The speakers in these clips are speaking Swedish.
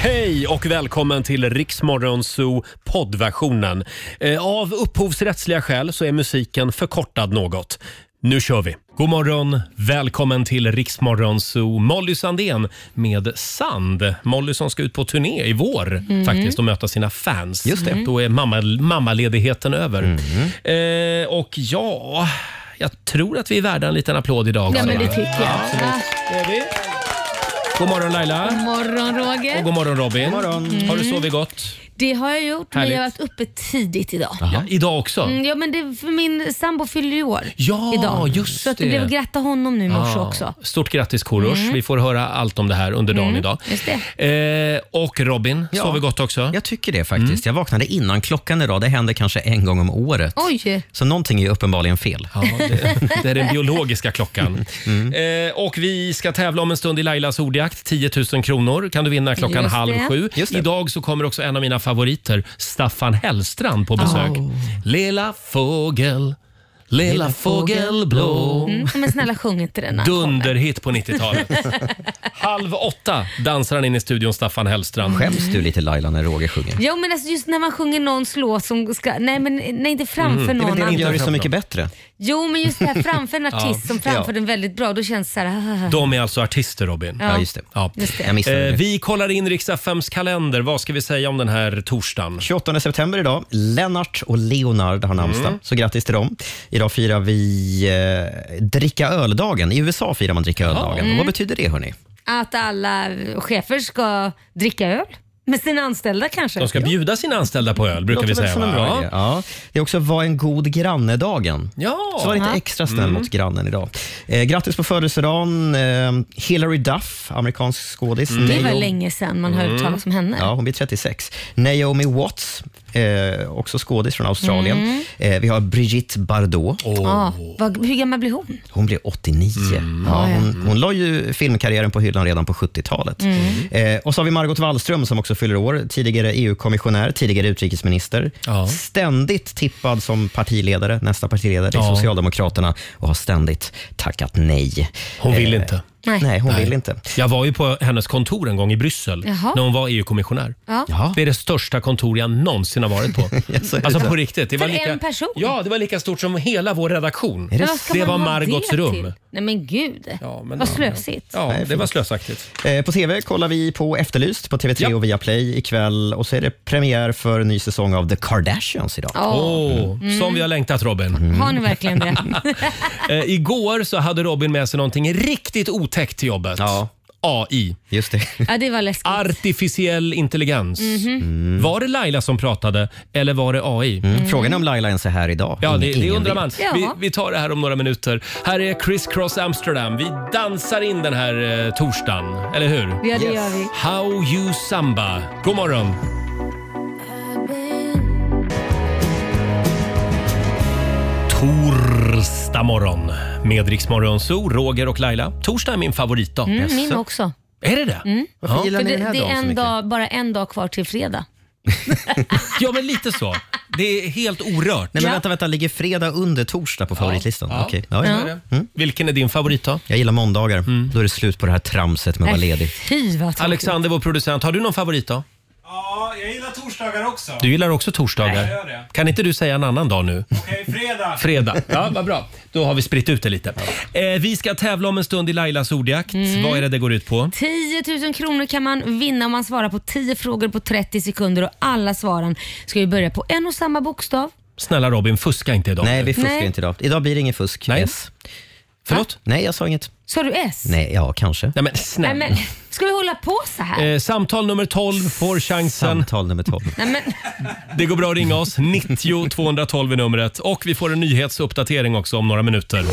Hej och välkommen till Riksmorgon Zoo poddversionen. Eh, Av upphovsrättsliga skäl så är musiken förkortad något. Nu kör vi! God morgon, välkommen till Riksmorgon Zoo. Molly Sandén med Sand. Molly som ska ut på turné i vår Mm. faktiskt och möta sina fans. Just det. Då är mamma, mammaledigheten över. Mhm. Eh, och ja, jag tror att vi är värda en liten applåd idag. Ja, också, men det va? tycker jag. Ah, Det är vi. God morgon Laila. God morgon Mm. Och Roger. god morgon Robin. Mm. Har du sovit gott? Det har jag gjort, men Härligt. jag har varit uppe tidigt idag. Ja, idag också? Mm, Ja, men det, för min sambo fyller ju år Ja, idag. just så att det det. blev att gratta honom nu i morse Ja. också. Mm. Stort grattis Korosh. Vi får höra allt om det här under dagen idag. just Eh, och Robin, Ja. sover gott också? Jag tycker det faktiskt. Mm. Jag vaknade innan klockan idag. Det händer kanske en gång om året. Oj! Så någonting är ju uppenbarligen fel. Ja, det, det är den biologiska klockan. Mm. Eh, och vi ska tävla om en stund i Lailas ordjakt. 10 000 kronor kan du vinna klockan Just det. halv sju. Just det. Idag så kommer också en av mina favoriter, Staffan Hellstrand, på besök. Oh. Lilla fågel, lilla fågel blå. Mm, men snälla sjung inte den. här. Dunderhit på 90-talet. Halv åtta dansar han in i studion, Staffan Hellstrand. Skäms du lite Laila när Roger sjunger? Jo men alltså just när man sjunger någons låt som ska... Nej, men, nej inte framför Mm. Det är väl någon det annan. ni gör det Mm-hmm. framför Mm. så mycket bättre. Jo men just det här framför en artist som framför Ja. den väldigt bra. Då känns det så här... De är alltså artister, Robin. Ja, just det. Ja. Just det. Jag missade Eh, det. vi kollar in Riks-FMs kalender. Vad ska vi säga om den här torsdagen? 28 september idag. Lennart och Leonard har namnsdag, Mm. så grattis till dem. Idag firar vi eh, dricka öldagen. I USA firar man dricka öldagen. Mm. Vad betyder det hörni? Att alla chefer ska dricka öl med sina anställda kanske. De ska bjuda sina anställda på öl, brukar vi Låter väl säga. som en bra va? idé. Ja. Det är också var en god granne-dagen. Ja. Mm. Så var lite extra snäll mot grannen idag. Eh, grattis på födelsedagen, eh, Hillary Duff, amerikansk skådis. Mm. Det var Naomi- länge sedan man hörde talas om henne. Mm. Ja, hon blir 36. Naomi Watts, eh, också skådis från Australien. Mm. Eh, vi har Brigitte Bardot, Ja, vad, hur gammal blir hon? hon blev 89. Mm. Ja, hon, hon la ju filmkarriären på hyllan redan på 70-talet. Mm. Mm. Eh, och så har vi Margot Wallström som också fyller år, tidigare EU-kommissionär, tidigare utrikesminister. Ja. Ständigt tippad som partiledare, nästa partiledare i Socialdemokraterna och har ständigt tackat nej. Eh, Hon vill inte. Nej. Nej, hon vill inte. Jag var ju på hennes kontor en gång i Bryssel Jaha. när hon var EU-kommissionär. Ja. Jaha. Det är det största kontor jag någonsin har varit på. alltså på riktigt. Det var För lika, en person? Ja, det var lika stort som hela vår redaktion. det Men vad ska det man var ha Margots det rum. till? Nej men gud, Ja, men- vad slösigt. Ja, det var slösaktigt. Eh, På TV kollar vi på Efterlyst på TV3 Ja. och Viaplay ikväll och så är det premiär för en ny säsong av The Kardashians idag. Ja. Åh, Mm. Som vi har längtat Robin. Mm. Har ni verkligen det? Eh, igår så hade Robin med sig någonting riktigt otäckt till jobbet. Ja. AI, Just det. Ja, det var läskigt. Mhm. artificiell intelligens. Var det Laila som pratade eller var det AI? Mm. Frågan är om Laila ens är här idag. Ja, det, Ingen- det ingen undrar vet. man. Ja. Vi, vi tar det här om några minuter. Här är Criss Cross Amsterdam. Vi dansar in den här eh, torsdagen, eller hur? Ja, det Yes. gör vi. How you samba. God morgon! Torsdag morgon med Rix Morgon Zoo, Roger och Laila. Torsdag är min favoritdag. Mm, min också. Mm. Är det det? Varför Ja. gillar För ni det, den här det är dagen så en mycket? dag, bara en dag kvar till fredag. Ja, men lite så. Det är helt orört. Nej, men Ja. vänta, vänta. Ligger fredag under torsdag på favoritlistan? Ja. Okej. Ja, ja. Vilken är din favorit då? Mm. Jag gillar måndagar. Då är det slut på det här tramset med att vara Nej, ledig. Fy vad tråkigt. Alexander, vår producent, har du någon favorit då? Ja, jag gillar torsdagar också. Du gillar också torsdagar. jag gör det. Kan inte du säga en annan dag nu? Okej, fredag. Fredag. Ja, vad bra. Då har vi spritt ut det lite. Eh, vi ska tävla om en stund i Lailas ordjakt. Mm. Vad är det det går ut på? 10 000 kronor kan man vinna om man svarar på 10 frågor på 30 sekunder och alla svaren ska ju börja på en och samma bokstav. Snälla Robin, fuska inte idag. Nej, vi fuskar Nej. inte idag. Idag blir det ingen fusk. Nej. Yes. Förlåt? Nej, jag sa inget. Sa du S? Nej, ja, kanske. Nej, men Nej, snälla. men, ska vi hålla på så här? Eh, samtal nummer 12 får chansen. Samtal nummer 12. Nej, men, Det går bra att ringa oss. 90 212 är numret. Och vi får en nyhetsuppdatering också om några minuter.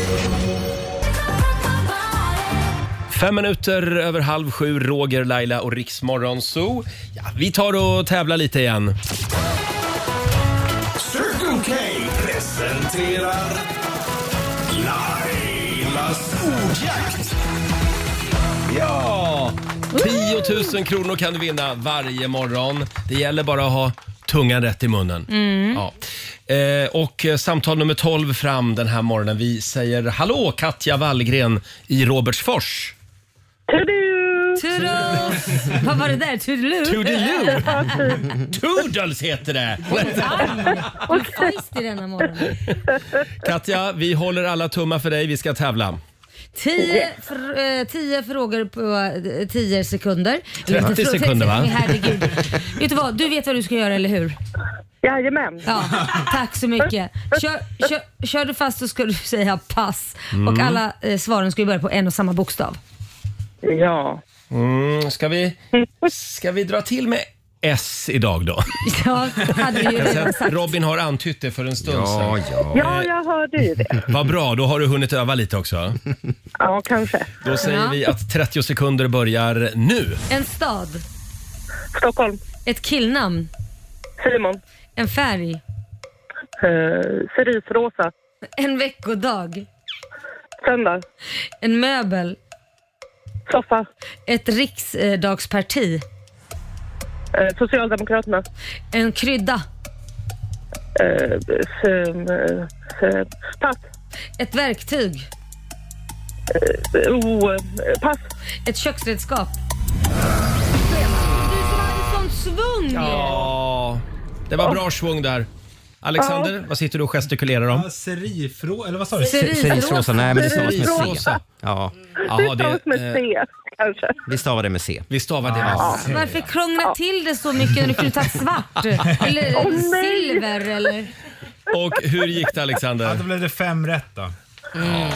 Fem minuter över halv sju, Roger, Laila och Riksmorgon Zoo. Ja, vi tar och tävlar lite igen. Circle K presenterar Lailas ordjakt. Ja! 10 000 kronor kan du vinna varje morgon. Det gäller bara att ha tungan rätt i munnen. Mm. Mm. Ja. Eh, och eh, samtal nummer 12 fram den här morgonen. Vi säger hallå Katja Wallgren i Robertsfors. Tudu! Toodles! Vad var det där? Toodaloo? Toodaloo! Ja, typ. Toodles heter det! Du är feist i denna morgon. Katja, vi håller alla tummar för dig. Vi ska tävla. Tio, fr- eh, tio frågor på eh, tio sekunder. Eller inte 30 frå- sekunder, va? Nej, Herregud. vet du vad? Du vet vad du ska göra, eller hur? Jajamän. Ja, tack så mycket. Kör, kör, kör du fast så ska du säga pass. Och Mm. alla eh, svaren ska ju börja på en och samma bokstav. Ja. Mm, ska, vi, ska vi dra till med S idag då? Ja, hade du ju Jag ser redan att sagt. Robin har antytt det för en stund Ja, sedan. ja. Ja, jag hörde ju det. Vad bra, då har du hunnit öva lite också. Ja, kanske. Då säger Ja. vi att 30 sekunder börjar nu. En stad, Stockholm. ett killnamn, Simon. en färg, Eh, Cerisrosa. en veckodag, Söndag. en möbel, Soffa. ett riksdagsparti, Eh, Socialdemokraterna. en krydda, Eh, s- eh, s- pass. ett verktyg, Eh, Oh, eh, pass. ett köksredskap. Du som hade sånt svung! Ja, det var bra svung där. Alexander, vad sitter du och gestikulerar om? Serifrå... Eller vad sa du? Cerisrosa, nej men det stavas med C. Rosa. Ja, Jaha, det stavas med det, eh, C, kanske. vi stavar det med C. vi stavar det med C. Varför krångla till det så mycket när du kunde tagit svart? Eller silver eller? Och hur gick det Ja, Alexander? då blev det fem rätt då.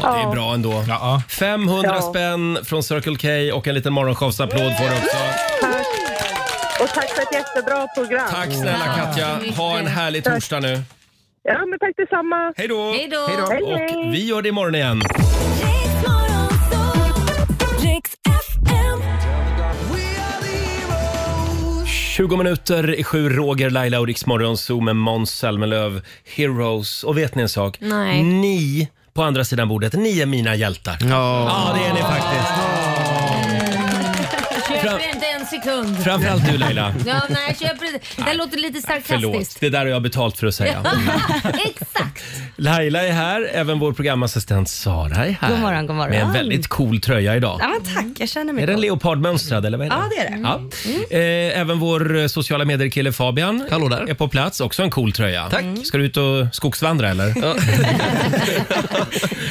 Ja, det är bra ändå. Ja. 500 Ja. spänn från Circle K och en liten morgonshowsapplåd får du också. Och tack för ett jättebra program. Tack snälla Tack så Katja. mycket. Ha en härlig torsdag nu. Ja, men tack detsamma. Hej då! Hej då! Hej, hej. Och vi gör det imorgon igen. Riks FM. 20 minuter i sju, Roger, Laila och Riksmorgon Zoo med Måns Zelmerlöw, Heroes. Och vet ni en sak? Nej. Ni på andra sidan bordet, ni är mina hjältar. Ja, Ja, det är ni faktiskt. Köper inte en sekund. Framförallt du Laila. Ja, nej, köper inte. Det där låter lite Förlåt, sarkastiskt. det där har jag betalt för att säga. Exakt. Laila är här, även vår programassistent Sara är här. God morgon, god morgon. Med en väldigt cool tröja idag. Ja, men tack, jag känner mig Är den cool. leopardmönstrad eller vad är Ja, det är det. Ja. Eh, även vår eh, sociala medier-kille Fabian Hallå där. är på plats. Också en cool tröja. Tack. Ska du ut och skogsvandra eller?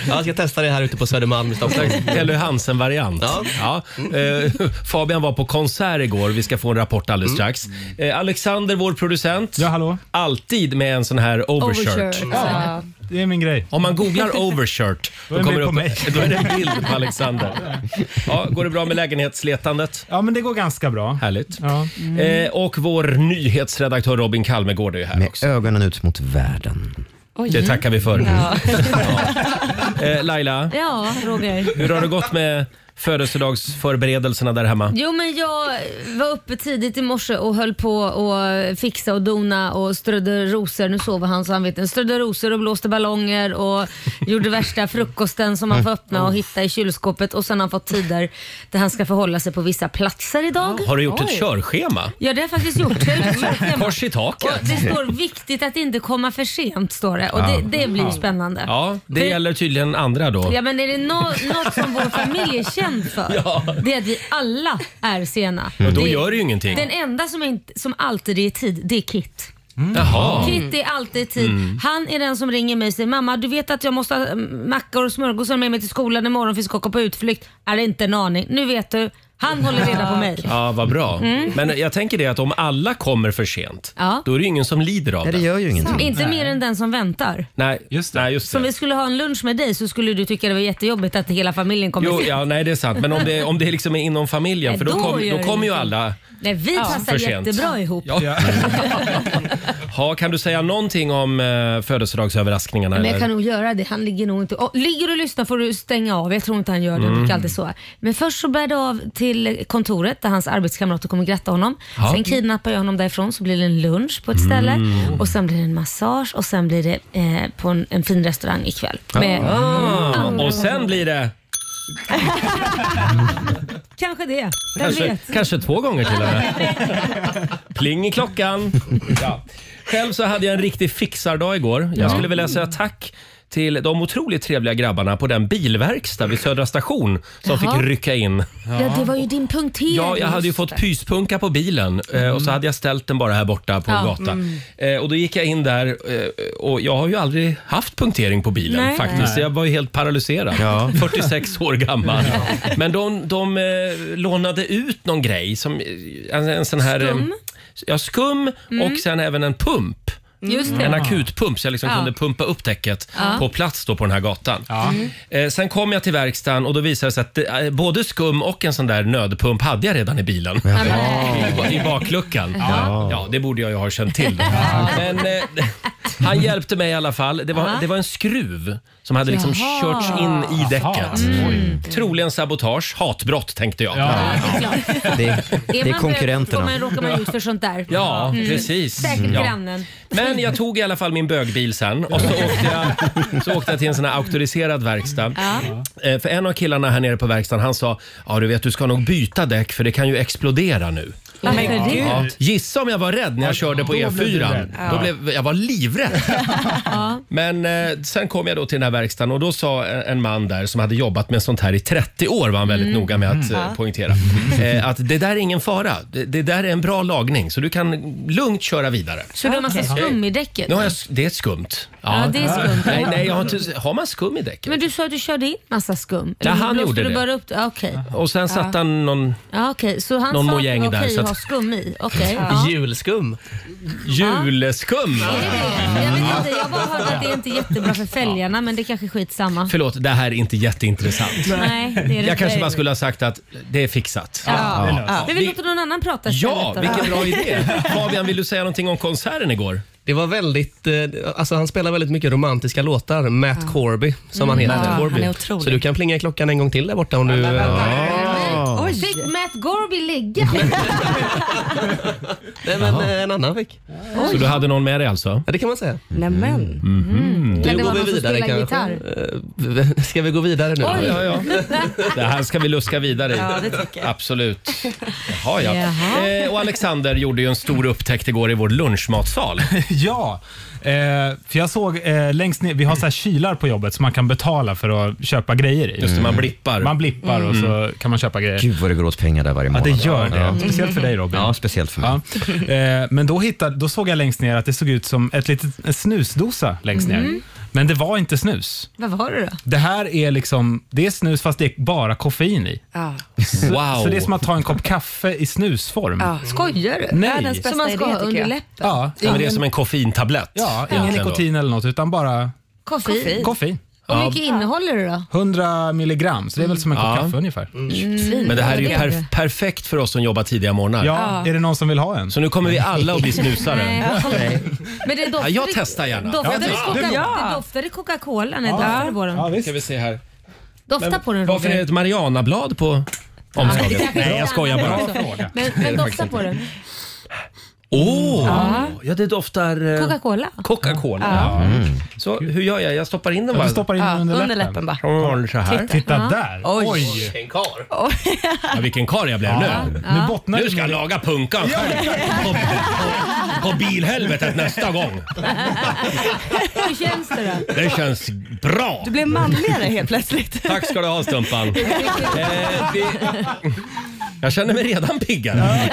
Ja, jag ska testa det här ute på Södermalm i Stockholm. Eller Hansen-variant. Ja. Eh, Fabian var på konsert igår. Vi ska få en rapport Mm. alldeles strax. Eh, Alexander, vår producent. Ja, hallå. Alltid med en sån här overshirt. Overshirt. Ja, det är min grej. Om man googlar overshirt Då är det en bild det på mig. då är det en bild på Alexander. Ja, går det bra med lägenhetsletandet? Ja, men det går ganska bra. Härligt. Ja. Eh, och vår nyhetsredaktör Robin Kalmegård är ju här med också. ögonen ut mot världen. Det tackar vi för. Ja. Eh, Laila, Ja, Roger. hur har det gått med födelsedagsförberedelserna där hemma? Jo men jag var uppe tidigt i morse och höll på och fixa och dona och strödde rosor. Nu sover han så han vet inte. Strödde rosor och blåste ballonger och gjorde värsta frukosten som han får öppna och hitta i kylskåpet. Och sen har han fått tider där han ska förhålla sig på vissa platser idag. Har du gjort ett körschema? Ja det har jag faktiskt gjort. Jag har gjort det. Kors i taket. Och det står viktigt att inte komma för sent står det och det, det blir ju spännande. Ja, det gäller tydligen andra då. Ja men är det nå- något som vår familj är känd för? Ja. Det är att vi alla är sena. Och då Det- gör det ju ingenting. Den enda som, är inte, som alltid är i tid, det är Kit. Mm. Jaha. Mm. Kit är alltid i tid. Han är den som ringer mig och säger mamma du vet att jag måste ha mm, mackor och smörgåsar med mig till skolan imorgon för vi ska åka på utflykt. Är det inte en aning. Nu vet du. Han håller reda på mig. Ja, vad bra. Men jag tänker det att om alla kommer för sent, Mm. Ja. då är det ju ingen som lider av Nej, det. det gör ju ingenting. Inte mer än den som väntar. Nej, just det. Nej, just Om det. vi skulle ha en lunch med dig så skulle du tycka det var jättejobbigt att hela familjen kommer Jo, sent. ja, nej, det är sant. Men om det, om det liksom är inom familjen, Nej, för då, då kom, gör då det kommer ju ingenting. alla. Nej, vi passar för sent. jättebra ihop. Ja. ha, kan du säga någonting om eh, födelsedagsöverraskningarna? Men jag eller? kan nog göra det. Han ligger nog inte... Oh, ligger och lyssnar får du stänga av. Jag tror inte han gör det. Jag brukar alltid så. Men först så bär det av till kontoret där hans arbetskamrater kommer gratta honom. Ja. Sen kidnappar jag honom därifrån så blir det en lunch på ett ställe. Mm. Och sen blir det en massage och sen blir det eh, på en, en fin restaurang ikväll. Med, Ah, och sen blir det Kanske det. Vem kanske, vet? kanske två gånger till och med. Pling i klockan. Ja. Själv så hade jag en riktig fixardag igår. Jag skulle vilja säga tack till de otroligt trevliga grabbarna på den bilverkstad vid Södra station som Jaha. fick rycka in. Ja, det var ju din punktering. Ja, jag hade ju just fått det. Mm. pyspunka på bilen eh, och så hade jag ställt den bara här borta på Ja, Mm. gatan. Eh, Och då gick jag in där eh, och jag har ju aldrig haft punktering på bilen Nej. faktiskt. Jag var ju helt paralyserad. 46 år gammal. Men de, de eh, lånade ut någon grej som eh, en, en sån här... eh, Skum? Mm. Ja, skum och sen även en pump. Just det. En akutpump så jag liksom Ja. kunde pumpa upp täcket på plats då på den här gatan. Ja. Mm. Eh, sen kom jag till verkstaden och då visade det sig att det, eh, både skum och en sån där nödpump hade jag redan i bilen. I, I bakluckan. Ja. det borde jag ju ha känt till. Men eh, han hjälpte mig i alla fall. Det var, det var en skruv som hade liksom Jaha. Mm. körts in i däcket. Oj. Troligen sabotage, hatbrott tänkte jag. Ja. Ja, det är klart. Det, det Är är man konkurrenterna. Man, råkar man ut för sånt där. Mm. Ja, precis. Säkert Ja. grannen. Men jag tog i alla fall min bögbil sen och så åkte jag, så åkte jag till en sån här auktoriserad verkstad. Eh, För en av killarna här nere på verkstaden han sa, ja du vet du ska nog byta däck för det kan ju explodera nu. Varför det? Ja. Gissa om jag var rädd när jag körde på då blev du E4. rädd. Då blev, jag var livrädd. Men eh, sen kom jag då till den här verkstaden och då sa en en man där som hade jobbat med sånt här i 30 år var han väldigt Mm. noga med att eh, poängtera. Eh, att det där är ingen fara. Det, det där är en bra lagning så du kan lugnt köra vidare. Så du har massa skum i däcket? Nu har jag, s- det är skumt. Ja, det är skumt. Nej, nej, jag har, inte, har man skum i däcket? Men du sa att du körde in massa skum. Ja, han blåste gjorde du det. Bara upp... ja, Okej, Och sen satte han någon ja, okej. så han Någon sa att det mojäng var där, okej så att att- ha skum i? Okej. Ja. Julskum. juleskum. Jag vet inte, jag bara hörde att det är inte är jättebra för fälgarna men det är kanske är skitsamma. Förlåt, det här är inte jätteintressant. Nej, det är det inte. Jag kanske bara skulle ha sagt att det är fixat. Ja. det är löst. Men vi låter någon annan Ja, prata istället då. vilken bra idé. Fabian, vill du säga någonting om konserten igår? Det var väldigt, eh, alltså han spelar väldigt mycket romantiska låtar. Matt Corby, som Mm. han heter. Ja, han Corby. är otrolig. Så du kan plinga i klockan en gång till där borta om du... eh, Oj. Fick Matt Gorby ligga? Nej, men eh, en annan fick. Så du hade någon med dig alltså? Ja, det kan man säga. Mm. Nämen. Kan Mm. det går vara vi någon som vidare spelar kanske? gitarr? Eh, Ska vi gå vidare nu? Oj. Ja, ja. Det här ska vi luska vidare i. Ja, det tycker jag. Absolut. Jaha, ja. Jaha. Eh, och Alexander gjorde ju en stor upptäckt igår i vår lunchmatsal. Ja, eh, för jag såg eh, längst ner, vi har så här kylar på jobbet som man kan betala för att köpa grejer i. Just det, man blippar. Mm. Man blippar och så kan man köpa grejer. Mm. Gud vad det går åt pengar där varje Ja, det månad. gör det. Ja. Speciellt för dig Robin. Ja, speciellt för mig. Ja. Eh, men då, hittade, då såg jag längst ner att det såg ut som ett litet, en snusdosa längst ner. Mm. Men det var inte snus. Vad var det då? Det här är liksom, det är snus fast det är bara koffein i. Ja. Wow. Så det är som att ta en kopp kaffe i snusform. Ja. Skojar du? Nej. Världens bästa Som man ska idé ha tycker under jag. läppen? Ja, Ja, men det är ingen- som en koffeintablett. ja, ingen egentligen då. nikotin eller något, utan bara Koffein. koffein. Och hur mycket innehåller det då? 100 milligram, så det är väl som en kopp Ja. kaffe ungefär. Mm. Mm. Svin. Men det här är ju Ja, det är det. perf- perfekt för oss som jobbar tidiga morgnar. Ja, är det någon som vill ha en? Så nu kommer vi alla att bli snusare. Nej. Men det Ja, doftar, jag testar gärna. Doftar Jag det, testar. Coca, Ja. det doftade Coca-Cola när jag doftade på den. Ska vi se här. Dofta på den Varför är det Roger. ett Marianablad på det omslaget? kanske är Nej, jag skojar ett bara. annat också. Men, men dofta på den. Åh! Ja, det doftar... eh, Coca-Cola. Coca-Cola. Så hur gör jag? Jag stoppar in den Mm. Du bara. stoppar in Ja, den under under läppen. läppen bara. Så här. Titta där. Oj. En kar. Ja, vilken karl jag blev nu. Nu bottnar Nu det ska jag laga punkan själv. På, på, på bilhelvetet nästa gång. Hur känns det då? Det känns bra. Du blev manligare helt plötsligt. Tack ska du ha Stumpan. Eh, vi... Jag känner mig redan piggare.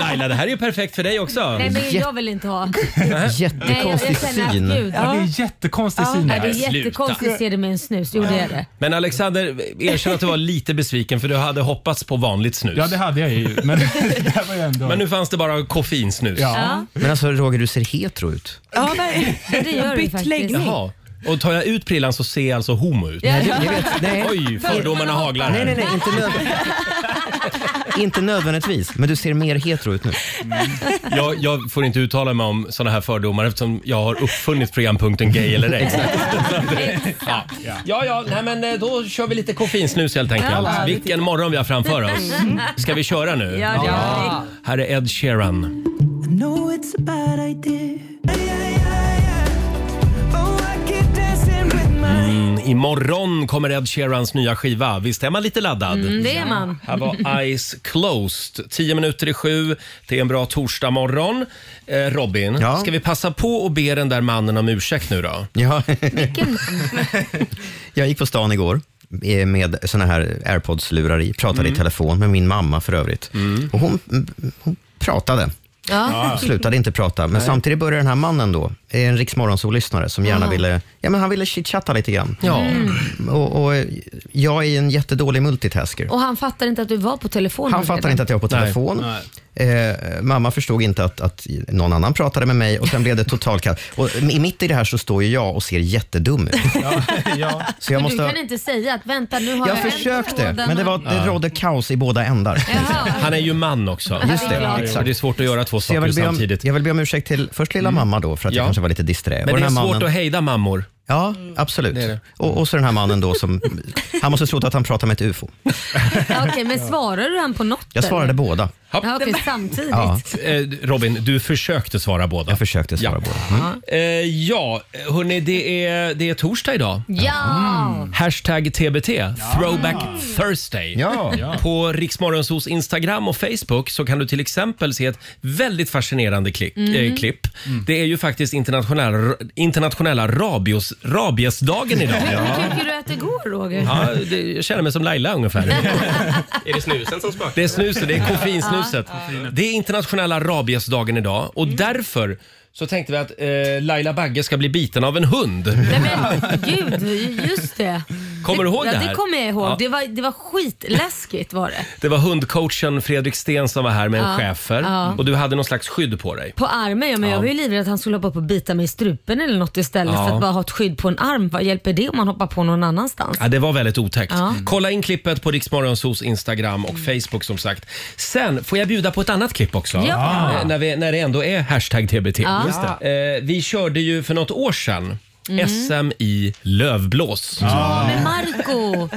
Laila, det här är ju perfekt för dig också. Nej men jag vill inte ha. Nej, jag, Jättekonstig jag känner att syn. gud. Ja, det är jättekonstig syn Nej, det där. är sluta. jättekonstigt ser det med en snus. Gjorde jag det? Men Alexander, erkänn att du var lite besviken för du hade hoppats på vanligt snus. Ja, det hade jag ju. Men det här var ju ändå... Men nu fanns det bara koffeinsnus. ja. Men alltså Roger, du ser hetero ut. Ja, nej. det gör du Bytt faktiskt. läggning. Jaha. Och tar jag ut prillan så ser jag alltså homo ut? Ja. Jag vet, nej. Oj, fördomarna haglar Nej, här. nej, nej, inte, nöd... inte nödvändigtvis. Men du ser mer hetero ut nu. Jag, jag får inte uttala mig om sådana här fördomar eftersom jag har uppfunnit programpunkten gay eller ej. ja, ja, ja nej, men eh, då kör vi lite koffeinsnus helt enkelt. Vilken morgon vi har framför oss. Mm. Ska vi köra nu? Ja, ja. Här är Ed Sheeran. Mm, Imorgon kommer Ed Sheerans nya skiva. Visst är man lite laddad? Mm, det är man. Här var Eyes Closed. Tio minuter i sju. Det är en bra torsdag morgon. Eh, Robin, Ja. Eh, ska vi passa på och be den där mannen om ursäkt nu då? Ja. jag gick på stan igår eh, med såna här airpods-lurar i. Pratade i telefon med min mamma för övrigt. Och hon, hon pratade. Ja. Slutade inte prata, men samtidigt började den här mannen då, eh, en riksmorgonsollyssnare som gärna ville, ja men han ville chitchatta lite grann. Ja. Och, och eh, jag är en jättedålig multitasker. Och han fattar inte att du var på telefonen. Han fattar redan. inte att jag var på Nej. telefon. Eh, mamma förstod inte att, att någon annan pratade med mig och sen blev det total kaos. Och i- mitt i det här så står ju jag och ser jättedum ut. Ja, ja. Så jag Men måste... Du kan inte säga att vänta nu har jag Jag vänt på försökte, tråden. men det, var, det rådde kaos i båda ändar. Jaha. Han är ju man också. Just det, Ja, exakt. och Det är svårt att göra två Så jag, saker vill be om, samtidigt. Mm. jag vill be om ursäkt till först lilla mamma då för att Ja. jag kanske var lite disträ. Men Och det är den här svårt mannen- att hejda mammor. Ja, absolut. det. Och, och så den här mannen då som... Han måste ha trott att han pratade med ett ufo. Ja, Okej, men svarade du han på något? Jag svarade eller? båda. Ja, okej, samtidigt. Ja, Eh, Robin, du försökte svara båda. jag försökte svara Ja. båda. Mm. Eh, ja, hörni, det är, det är torsdag idag. Ja! Mm. Hashtag TBT, Throwback Thursday. Ja. På Riksmorgonsos Instagram och Facebook så kan du till exempel se ett väldigt fascinerande klick, eh, klipp. Det är ju faktiskt internationella, internationella rabios, rabiesdagen idag. Hur tycker du att det går Roger? Ja, det, jag känner mig som Laila ungefär. Är det snusen som spökar? Det är snuset, det är koffeinsnuset. Det är internationella rabiesdagen idag och därför så tänkte vi att eh, Laila Bagge ska bli biten av en hund. Nej men gud, just det. Kommer du ihåg ja, det det här? kommer jag ihåg. Ja. Det, var, det var skitläskigt var det. Det var hundcoachen Fredrik Sten som var här med en schäfer Ja. och du hade någon slags skydd på dig. På armen, ja, men jag var ju livrädd att han skulle hoppa upp och bita mig i strupen eller något istället Ja. för att bara ha ett skydd på en arm. Vad hjälper det om man hoppar på någon annanstans? Ja, det var väldigt otäckt. Ja. Mm. Kolla in klippet på Riksmorgonsos Instagram och Facebook som sagt. Sen får jag bjuda på ett annat klipp också. Ja. Eh, När, vi, när det ändå är hashtag TBT. Ja. Mm. Eh, vi körde ju för något år sedan SM i lövblås. Men Marco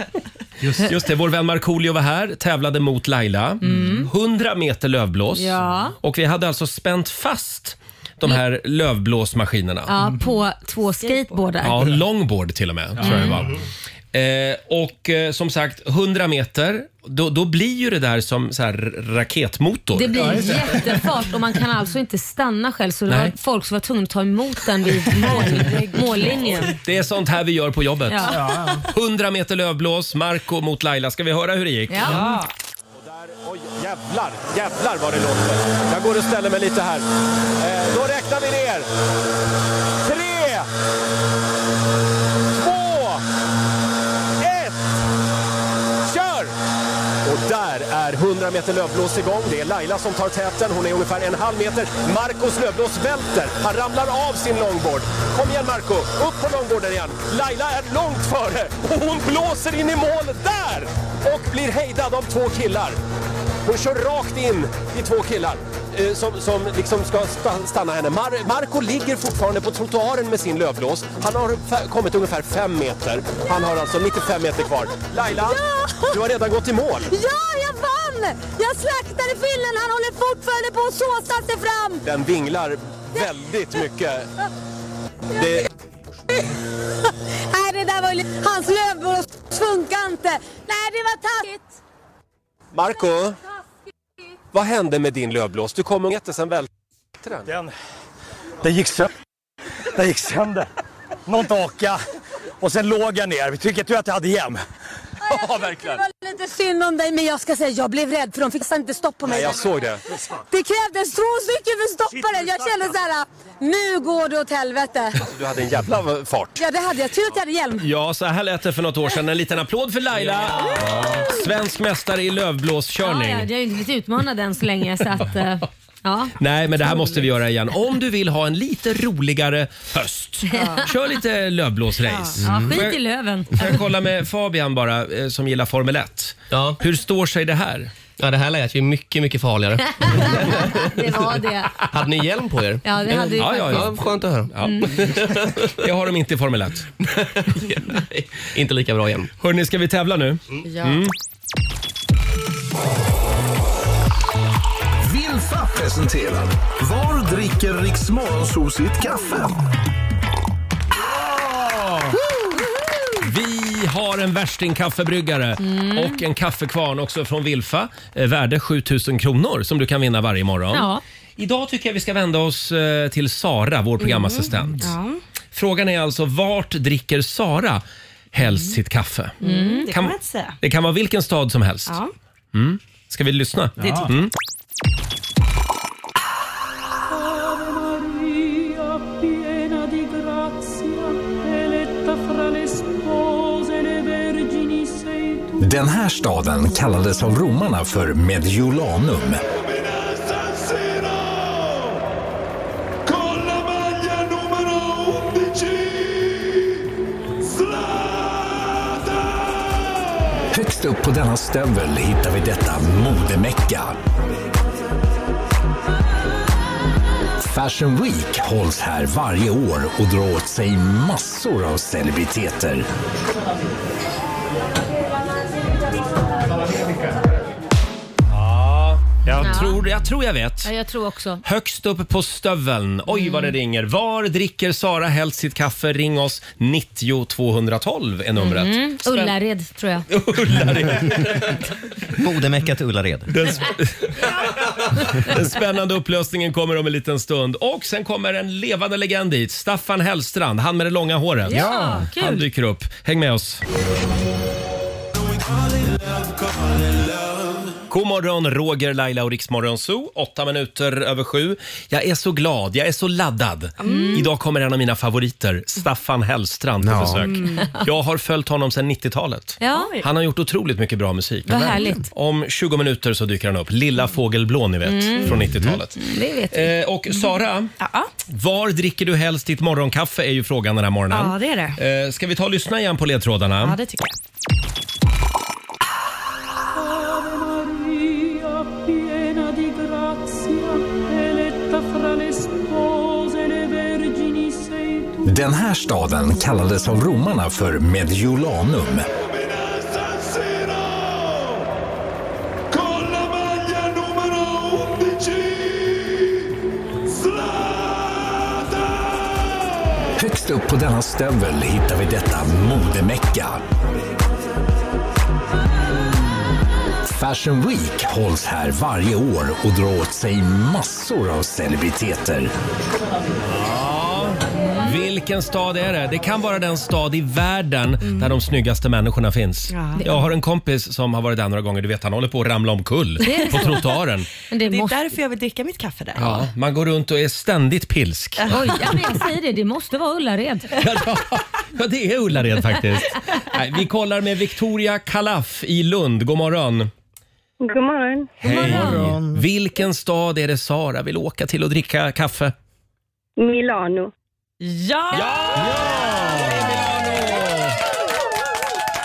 Just det, vår vän Markoolio var här, tävlade mot Laila. 100 meter lövblås. Mm. Ja. Och vi hade alltså spänt fast de här lövblåsmaskinerna. ja, på två skateboardar. Mm. Ja, longboard till och med, tror jag det var. Eh, och eh, som sagt, 100 meter, då, då blir ju det där som så här raketmotor. Det blir jättefart och man kan alltså inte stanna själv så det Nej. var folk som var tvungna att ta emot den vid mål, mållinjen. Det är sånt här vi gör på jobbet. Ja. 100 meter lövblås, Marco mot Laila. Ska vi höra hur det gick? Ja. Där, oj, jävlar, jävlar vad det låter. Jag går och ställer mig lite här. Eh, då räknar vi ner. Tre, två, ett, kör! Och där är 100 meter lövblås igång. Det är Laila som tar täten. Hon är ungefär en halv meter. Marcos lövblås välter. Han ramlar av sin longboard. Kom igen Marco, upp på longboarden igen. Laila är långt före och hon blåser in i mål där! Och blir hejdad av två killar. Hon kör rakt in i två killar eh, som, som liksom ska sta- stanna henne. Mar Marco ligger fortfarande på trottoaren med sin lövblås. Han har fa- kommit ungefär fem meter. Han har alltså 95 meter kvar. Laila, du har redan gått i mål. Ja, jag vann! Jag slaktade fyllen, han håller fortfarande på att såsa sig fram! Den vinglar väldigt mycket. Det, Nej, det där var ju... li- Hans lövblås funkar inte! Nej, det var taskigt! Marco, vad hände med din lövblås? Du kom och hette sen väl... Den, den gick sönder. Den gick sönder. Någon taka. Och sen låg jag ner. Vi tycker tur att jag hade hjälm. Ja, verkligen. Det var lite synd om dig, men jag ska säga jag blev rädd för de fixade inte stopp på mig. Nej, jag såg det. Det krävdes två stycken för att stoppa den. Jag kände så här, nu går det åt helvete. Du hade en jävla fart. Ja, det hade jag. Tur att jag hade hjälm. Ja, så här lät det för något år sedan. En liten applåd för Laila! Svensk mästare i Ja, lövblåskörning. ja, jag har ju inte blivit utmanad än så länge så att, eh, ja. Nej, men det här måste vi göra igen. Om du vill ha en lite roligare höst, kör lite lövblåsrace. ja, Får skit jag- i löven. Får jag kolla med Fabian bara, eh, som gillar Formel 1. Ja. Hur står sig det här? ja, det här lät ju mycket, mycket farligare. Det var det. Hade ni hjälm på er? Ja, det hade vi Ja, ja, ja, faktiskt. Ja, skönt att höra. Mm. Ja. Det har de inte i Formel 1. Nej, inte lika bra hjälm. Hörni, ska vi tävla nu? Mm. Ja. Vilsa presenterar Var dricker Riks Morgonzoo sitt kaffe? Vi har en värstingkaffebryggare Mm. och en kaffekvarn också från Wilfa. eh, Värde 7000 kronor som du kan vinna varje morgon. Ja. Idag tycker jag vi ska vända oss eh, till Sara, vår programassistent. Mm. Ja. Frågan är alltså vart dricker Sara helst sitt kaffe? Mm, det kan Kan- man inte säga. Det kan vara vilken stad som helst. Ja. Mm. Ska vi lyssna? Det tycker jag. Mm. Maria, piena di grazia, eletta fra le spose, le vergini sei tu. Den här staden kallades av romarna för Mediolanum. Con la maglia numero 11, Högst upp på denna stövel hittar vi detta modemecka. Fashion Week hålls här varje år och drar åt sig massor av celebriteter. Ja, jag, Ja. Tror, jag tror jag vet. Ja, jag tror också. Högst upp på stöveln. Oj, Mm. vad det ringer. Var dricker Sara helst sitt kaffe? Ring oss. 90 212 är numret. Mm. Ullared tror jag. Bodemecka till Ullared. Den, sp- Den spännande upplösningen kommer om en liten stund. Och sen kommer en levande legend dit. Staffan Hellstrand, han med det långa håret. Ja, Han kul. dyker upp. Häng med oss. God morgon, Roger, Laila och Riksmorgon Zoo. Åtta minuter över sju. Jag är så glad, jag är så laddad. Mm. Idag kommer en av mina favoriter, Staffan Hellstrand, på Ja. besök. Mm. Jag har följt honom sedan 90-talet. Ja. Han har gjort otroligt mycket bra musik. Vad härligt. Om 20 minuter så dyker han upp. Lilla fågelblå, ni vet, Mm. från 90-talet. Det vet Mm. vi. Eh, och Sara, var dricker du helst ditt morgonkaffe är ju frågan den här morgonen. Ja, det är det. Eh, ska vi ta och lyssna igen på ledtrådarna? Ja, det tycker jag. Ave Maria, piena di grazia, eletta fra le spose, le vergini sei tu. Den här staden kallades av romarna för Mediolanum. Con la maglia numero 11, Högst upp på denna stövel hittar vi detta modemecka. Fashion Week hålls här varje år och drar åt sig massor av celebriteter. Vilken stad är det? Det kan vara den stad i världen där de snyggaste människorna finns. Ja. Jag har en kompis som har varit där några gånger. Du vet, han håller på att ramla omkull Det är på så. trottoaren. Men det, är måste- därför jag vill dricka mitt kaffe där. Ja, man går runt och är ständigt pilsk. Oj, ja, men jag säger det, det måste vara Ullared. Ja, det är Ullared faktiskt. Nej, vi kollar med Victoria Kalaff i Lund. God morgon. God morgon. Hej. Vilken stad är det Sara vill åka till och dricka kaffe? Milano. Ja!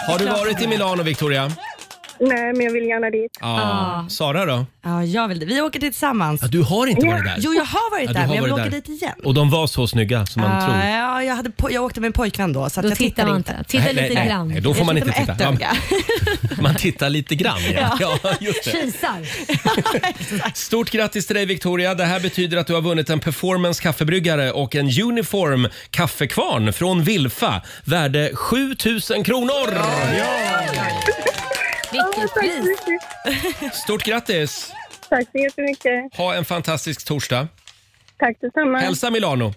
Har du varit i Milano, Victoria? Nej, men jag vill gärna dit. Ja. Sara då? Ja, jag vill det. Vi åker dit tillsammans. Du har inte varit där? Jo, jag har varit Ja, du där, har men jag vill varit åka där. dit igen. Och de var så snygga som man Ah, tror. ja, jag, hade po- jag åkte med en pojkvän då, så att Då jag tittar tittade man inte. inte. Titta Nej, lite nej, nej. grann. Nej, då får jag man inte tittar med titta. Ett öga. Man tittar lite grann, ja. ja. just det. Kisar. Stort grattis till dig, Victoria. Det här betyder att du har vunnit en performance kaffebryggare och en uniform kaffekvarn från Wilfa, värde 7000 kronor! Vilket pris. Stort grattis! Tack så jättemycket. Ha en fantastisk torsdag. Tack detsamma. Hälsa Milano.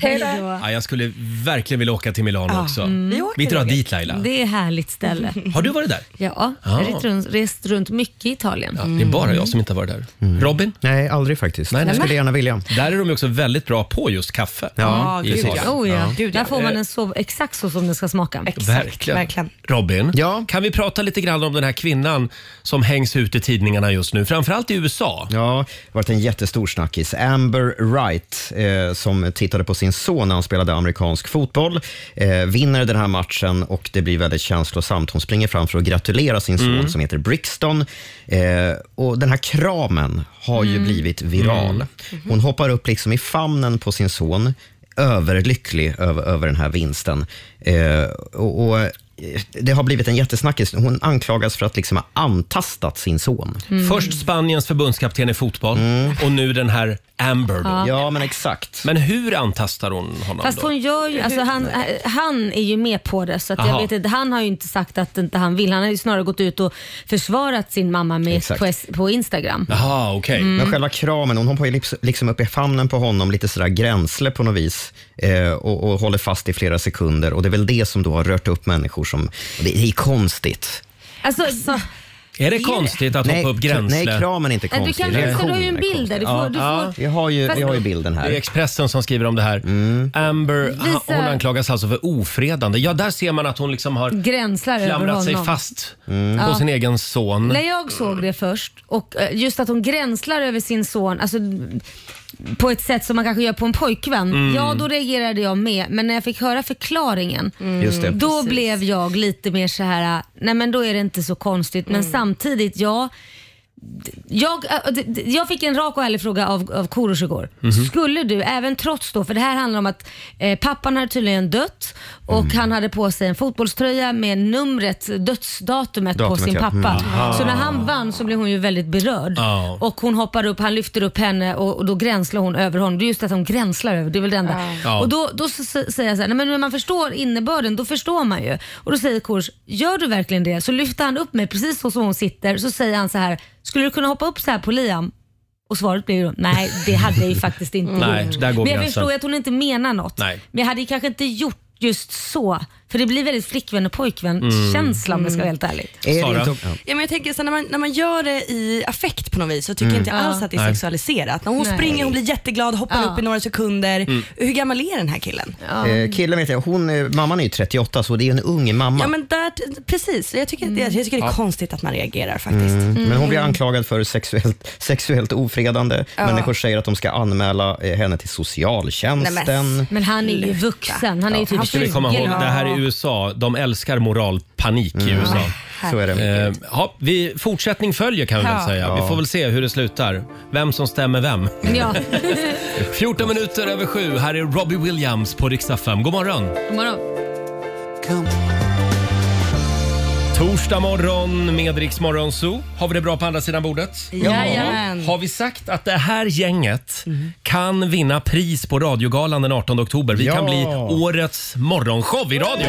Hej då. Ja, jag skulle verkligen vilja åka till Milano Ja, också. mm. Vi, åker drar Roger. dit Laila. Det är härligt ställe. Har du varit där? Ja, jag Ah. har rest runt, rest runt mycket i Italien. Ja, Det är bara jag som inte har varit där. Robin? Mm. Nej, aldrig faktiskt. Nej, Jag skulle gärna vilja. Där är de ju också väldigt bra på just kaffe. Mm. Ja, I gud, Italien. Oh, ja. Där får man Eh, den så, exakt så som den ska smaka. Verkligen. Robin, kan vi prata lite grann om den här kvinnan som hängs ut i tidningarna just nu, framförallt i USA? Ja, det varit en jättestor snackis. Amber Wright, eh, som tittade på sin son när han spelade amerikansk fotboll, eh, vinner den här matchen och det blir väldigt känslosamt. Hon springer fram för att gratulera sin son Mm. som heter Brixton. Eh, och den här kramen har ju Mm. blivit viral. Hon hoppar upp liksom i famnen på sin son, överlycklig över, över den här vinsten. Eh, och, och det har blivit en jättesnackis. Hon anklagas för att liksom ha antastat sin son. Mm. Först Spaniens förbundskapten i fotboll och nu den här Amber. Då. Ja. Ja, Mm. men exakt. Men hur antastar hon honom Fast då? hon gör ju, alltså han, han är ju med på det så att jag Aha. vet inte, han har ju inte sagt att inte han vill. Han har ju snarare gått ut och försvarat sin mamma med, Exakt. på, S- på Instagram. Jaha, okej. Mm. Men själva kramen, hon hoppar ju lips- liksom upp i famnen på honom, lite sådär gränsle på något vis eh, och, och håller fast i flera sekunder. Och det är väl det som då har rört upp människor som... och Det är konstigt. Alltså, Är det konstigt att nej, hoppa upp kra- gränsle? Nej, kramen är inte Nej, du konstig. kan- Reaktionen du har ju en är bild konstig. där. Du får- du får- Vi, har ju, Fast- vi har ju bilden här. Mm. Det är Expressen som skriver om det här. Amber Visa- ha- hon anklagas alltså för ofredande. Ja, där ser man att hon liksom har gränslar över honom. klamrat sig fast Mm. på Ja. sin egen son. När jag såg det först och eh, just att hon gränslar över sin son, alltså på ett sätt som man kanske gör på en pojkvän. Mm. Ja, då reagerade jag med. Men när jag fick höra förklaringen, Just det. då Precis. blev jag lite mer så här, eh, nej men då är det inte så konstigt. Men samtidigt, ja. d- Jag, eh, d- d- jag fick en rak och ärlig fråga av, av Korosh igår. Mhm. Skulle du, även trots då, för det här handlar om att eh, pappan hade tydligen dött och han hade på sig en fotbollströja med numret, dödsdatumet på Datumet, sin ja. pappa. Mm. Aha. Så när han vann så blev hon ju väldigt berörd. Ja. Och hon hoppar upp, han lyfter upp henne och, och då gränslar hon över honom. Det är just det att hon gränslar över, det är väl det enda. Ja. Och då, då s- s- säger jag så här, nej men när man förstår innebörden, då förstår man ju. Och då säger Kors, gör du verkligen det? Så lyfter han upp mig precis så som hon sitter, så säger han så här, skulle du kunna hoppa upp så här på Liam? Och svaret blir ju då, nej det hade jag ju faktiskt inte Nej, gjort. där går Men jag gränsen. förstår ju att hon inte menar något. Nej. Men jag hade ju kanske inte gjort just så. För det blir väldigt flickvän och pojkvän-känsla Mm. om jag ska vara helt ärlig. Ja, men jag tänker så här, när, man, när man gör det i affekt på något vis så tycker Mm. jag inte Ja. alls att det är Nej. sexualiserat. När hon Nej. springer, hon blir jätteglad, hoppar Ja. upp i några sekunder. Mm. Hur gammal är den här killen? Eh, killen vet jag, hon, är- mamman är ju 38 så det är ju en ung mamma. Ja men där, precis. Jag Mm. tycker, jag, jag tycker det är Ja. konstigt att man reagerar faktiskt. Mm. Men hon blir Mm. anklagad för sexuellt, sexuellt ofredande. Ja. Människor säger att de ska anmäla eh, henne till Nej, men, socialtjänsten. men han är ju vuxen. Han är ju typ Nu ska vi 20 komma ihåg, eller det här är något. USA. De älskar moralpanik i Mm. USA. Så är det. Eh, ja, vi, fortsättning följer kan vi väl Ja. säga. Vi Ja. får väl se hur det slutar. Vem som stämmer vem. Ja. 14 minuter över sju. Här är Robbie Williams på riksdag 5. God morgon! God morgon. Torsdag morgon med Rix Morgon Zoo. Har vi det bra på andra sidan bordet? Jajamän. Har vi sagt att det här gänget kan vinna pris på radiogalan den 18 oktober? Vi kan Ja. bli årets morgonshow i radio.